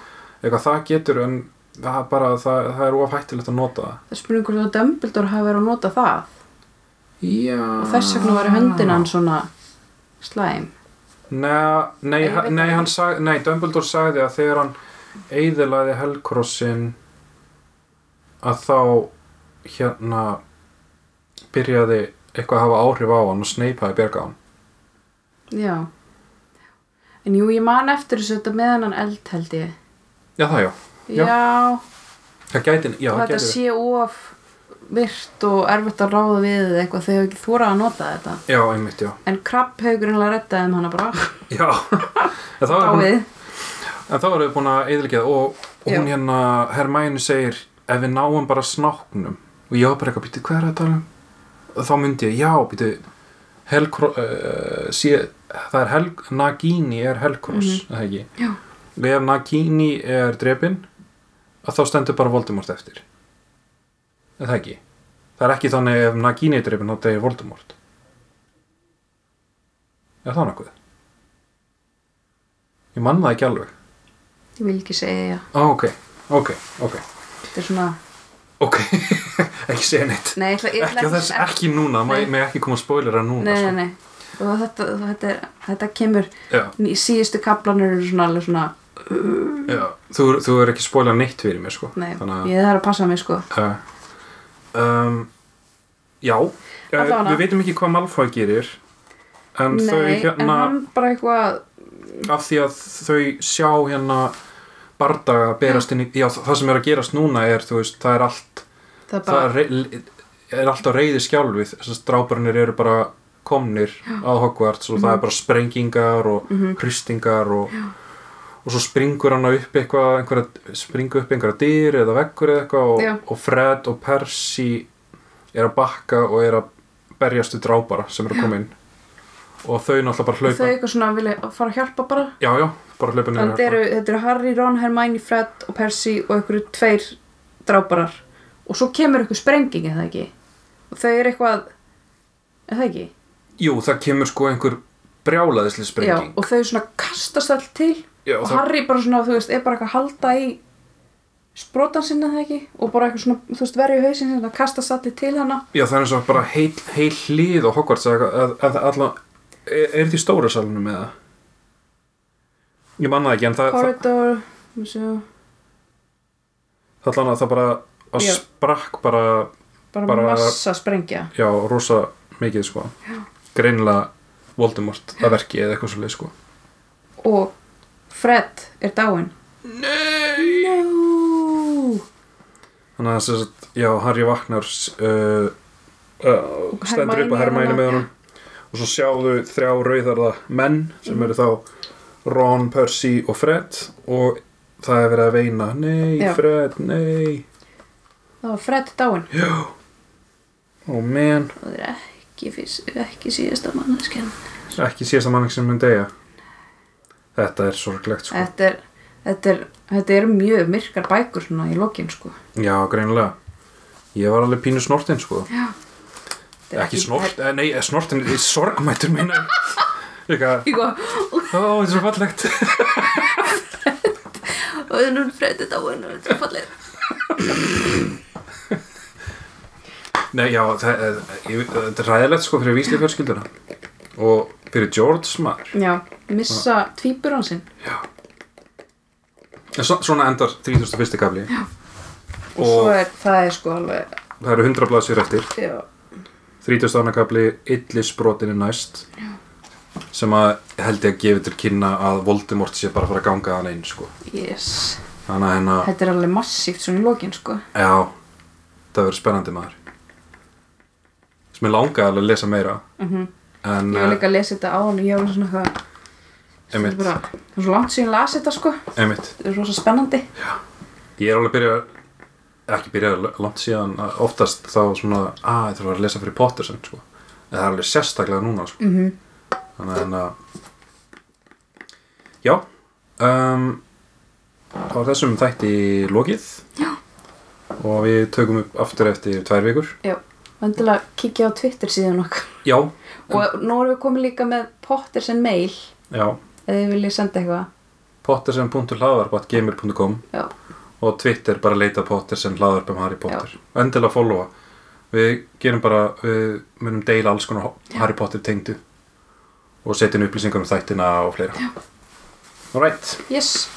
Speaker 1: Eitthvað það getur, en það, er bara, það, það er ofhættilegt að nota það
Speaker 2: það spurning hvort að Dumbledore hafi verið að nota það
Speaker 1: Já
Speaker 2: og þess vegna var höndin hann svona slæm
Speaker 1: Nei, nei,
Speaker 2: Ég veit
Speaker 1: nei,
Speaker 2: það
Speaker 1: hann
Speaker 2: ekki.
Speaker 1: sag, nei, Dumbledore sagði að þegar hann eiðilaði Helcrossin að þá hérna byrjaði eitthvað að hafa áhrif á hann og Snape hafi bjargað hann
Speaker 2: já en jú, ég man eftir þessu þetta með hann eld held ég
Speaker 1: Já, það já, Já.
Speaker 2: já,
Speaker 1: það gæti, já, það
Speaker 2: þetta
Speaker 1: gæti
Speaker 2: sé of virt og erfitt að ráða við eða eitthvað þau hefur ekki þóra að nota þetta
Speaker 1: Já, einmitt, já
Speaker 2: En krabb hefur greinlega rettaði um hana bara
Speaker 1: Já, en þá erum
Speaker 2: Dáið
Speaker 1: en þá erum við búin að eiðilegja og, og hún
Speaker 2: Já.
Speaker 1: hérna, Hermæni segir ef við náum bara snáknum og ég var bara eitthvað, býttu, hvað er það að tala um? og þá myndi ég, já, býttu Helcro, uh, sé, það er Hel Nagini er Helcross mm -hmm. eða ekki?
Speaker 2: Mhm. Já.
Speaker 1: Og ef Nagini er drepin að þá stendur bara Voldemort eftir eða ekki? það er ekki þannig ef Nagini er drepin þá degir Voldemort er það nokkuð? ég mann það ekki alveg
Speaker 2: Ég vil ekki segja
Speaker 1: Á, ok, ok, ok,
Speaker 2: Þetta er svona
Speaker 1: ok, ekki segja neitt.
Speaker 2: Nei, ég ætla, ég ætla
Speaker 1: Ekki, á þess, ekki núna,
Speaker 2: Nei.
Speaker 1: maður ekki koma að spoilera núna,
Speaker 2: Nei,
Speaker 1: sko.
Speaker 2: nei, nei Og þetta, þetta, er, þetta kemur
Speaker 1: Já,
Speaker 2: í síðustu kaplanur eru svona alveg svona
Speaker 1: já, þú, þú er ekki að spoila neitt fyrir mér, sko.
Speaker 2: Nei,
Speaker 1: Þannig að,
Speaker 2: ég þarf að passa mig sko
Speaker 1: uh, um, já, uh,
Speaker 2: Allavega.
Speaker 1: við veitum ekki hvað Malfoy gerir, en þau
Speaker 2: Nei,
Speaker 1: hérna,
Speaker 2: en hann bara eitthvað
Speaker 1: af því að þau sjá hérna bardaga berast inn í, já, það sem er að gerast núna er, þú veist, það er allt
Speaker 2: Það er bara
Speaker 1: það er, er alltaf reyði skjálfið þess að stráparnir eru bara komnir að Hogwarts og
Speaker 2: Mhm.
Speaker 1: það er bara sprengingar og hristingar og, og svo springur hann upp eitthvað, einhverja, springur upp einhverja dýr eða veggur eða eitthvað
Speaker 2: Já.
Speaker 1: og, og Fred og Percy er að bakka og er að berjast við drápara sem eru að koma inn og þau náttúrulega bara
Speaker 2: Þau
Speaker 1: hlaupa
Speaker 2: eitthvað svona vilja fara að hjálpa bara
Speaker 1: já, já, bara hlaupa niður hérna.
Speaker 2: Þannig þetta eru, þetta eru Harry, Ron, Hermione, Fred og Percy og einhverju tveir dráparar og svo kemur eitthvað sprenging eða ekki og þau eru eitthvað eða ekki
Speaker 1: jú, það kemur sko einhver brjálaðisli
Speaker 2: Já,
Speaker 1: sprenging
Speaker 2: og þau svona kastast all til
Speaker 1: Já,
Speaker 2: og
Speaker 1: það-
Speaker 2: Harry bara svona, þú veist, er bara eitthvað að halda í sprotan sinna það ekki og bara eitthvað svona, þú veist, verið í hausin sinna kastast allir til hana
Speaker 1: Já, það er eins og bara heil, heil hlið og Hogwarts eða eitthvað, að, að allan, er, er þetta í stóra salunum eða? Ég manna það ekki, en það, það,
Speaker 2: Corridor, þú veist,
Speaker 1: það allan að það bara að
Speaker 2: Já.
Speaker 1: sprakk bara,
Speaker 2: bara,
Speaker 1: Bara-
Speaker 2: massa sprengja
Speaker 1: já, rosa mikið, sko. Já. Greinilega Voldemort að verki eða eitthvað svolítið, sko.
Speaker 2: og Fred er dáinn
Speaker 1: Nei!
Speaker 2: Ú,
Speaker 1: þannig að þess að, já, Harry vaknar uh, uh, stendur upp
Speaker 2: Hermione
Speaker 1: að hermæni
Speaker 2: er
Speaker 1: með
Speaker 2: þarna.
Speaker 1: honum og svo sjáðu þrjá rauðarða menn sem eru þá Ron, Percy og Fred og það er verið að veina nei,
Speaker 2: Já.
Speaker 1: Fred, nei
Speaker 2: Það var Fred dáin.
Speaker 1: og menn,
Speaker 2: Það er ekki, fyrst, ekki síðasta manneskjan. sko.
Speaker 1: ekki síðasta manning sem mun deyja þetta er sorglegt sko
Speaker 2: Þetta er, þetta er, þetta er mjög myrkar bækur svona í lokin, sko.
Speaker 1: já, greinilega ég var alveg pínu snortinn sko
Speaker 2: Já.
Speaker 1: ekki snort, eh, nei, eh, snortinn er sorgmættur minna eitthvað, ó, þetta er svo fallegt
Speaker 2: og það er nú Fred dáin og þetta er fallið.
Speaker 1: Nei, já, það, eh, ég- þetta er ræðilegt sko fyrir vísli fjörskilduna og fyrir George maður
Speaker 2: Já, missa tvíbur hans sinn.
Speaker 1: en svo, svona endar 31. kafli
Speaker 2: Og svo
Speaker 1: og
Speaker 2: er, það er sko alveg,
Speaker 1: það eru 100 blaðsir eftir
Speaker 2: já,
Speaker 1: 32. kafli illisbrotin er næst sem að held ég að gefi til kynna að Voldemort sé bara að fara að ganga hann einn sko
Speaker 2: yes.
Speaker 1: þannig að hennar,
Speaker 2: Þetta er alveg massíft svona í lokin, sko.
Speaker 1: já það verður spennandi maður sem ég langaði alveg að lesa meira
Speaker 2: Mhm.
Speaker 1: en,
Speaker 2: Ég var líka að lesa þetta á hann og ég var svona
Speaker 1: eh,
Speaker 2: eitthvað, þetta er
Speaker 1: einmitt,
Speaker 2: bara, það er svo langt síðan ég las þetta, sko.
Speaker 1: einmitt
Speaker 2: Þetta er rosa spennandi.
Speaker 1: Ég er alveg byrjað ekki byrjað langt síðan að oftast þá svona að ég þarf að vera að lesa fyrir Potter sem sko. en það er alveg sérstaklega núna sko.
Speaker 2: Mm -hmm.
Speaker 1: þannig að- þannig að já um, þá er þessum þætti lokið já. og við tökum upp aftur eftir tvær vikur
Speaker 2: Já, vendilega kíkja á Twitter síðan okkur.
Speaker 1: já,
Speaker 2: Og nú erum við komið líka með Potter sem mail,
Speaker 1: já
Speaker 2: eða þið viljið senda eitthvað.
Speaker 1: pottersen.hlaðvarp.gmail.com
Speaker 2: Já,
Speaker 1: og Twitter bara leita Pottersen hlaðvarp um Harry Potter endilega followa við gerum bara, við munum deila alls konar Harry Potter tengdu og setjum upplýsingar um þættina og fleira Alright
Speaker 2: yes.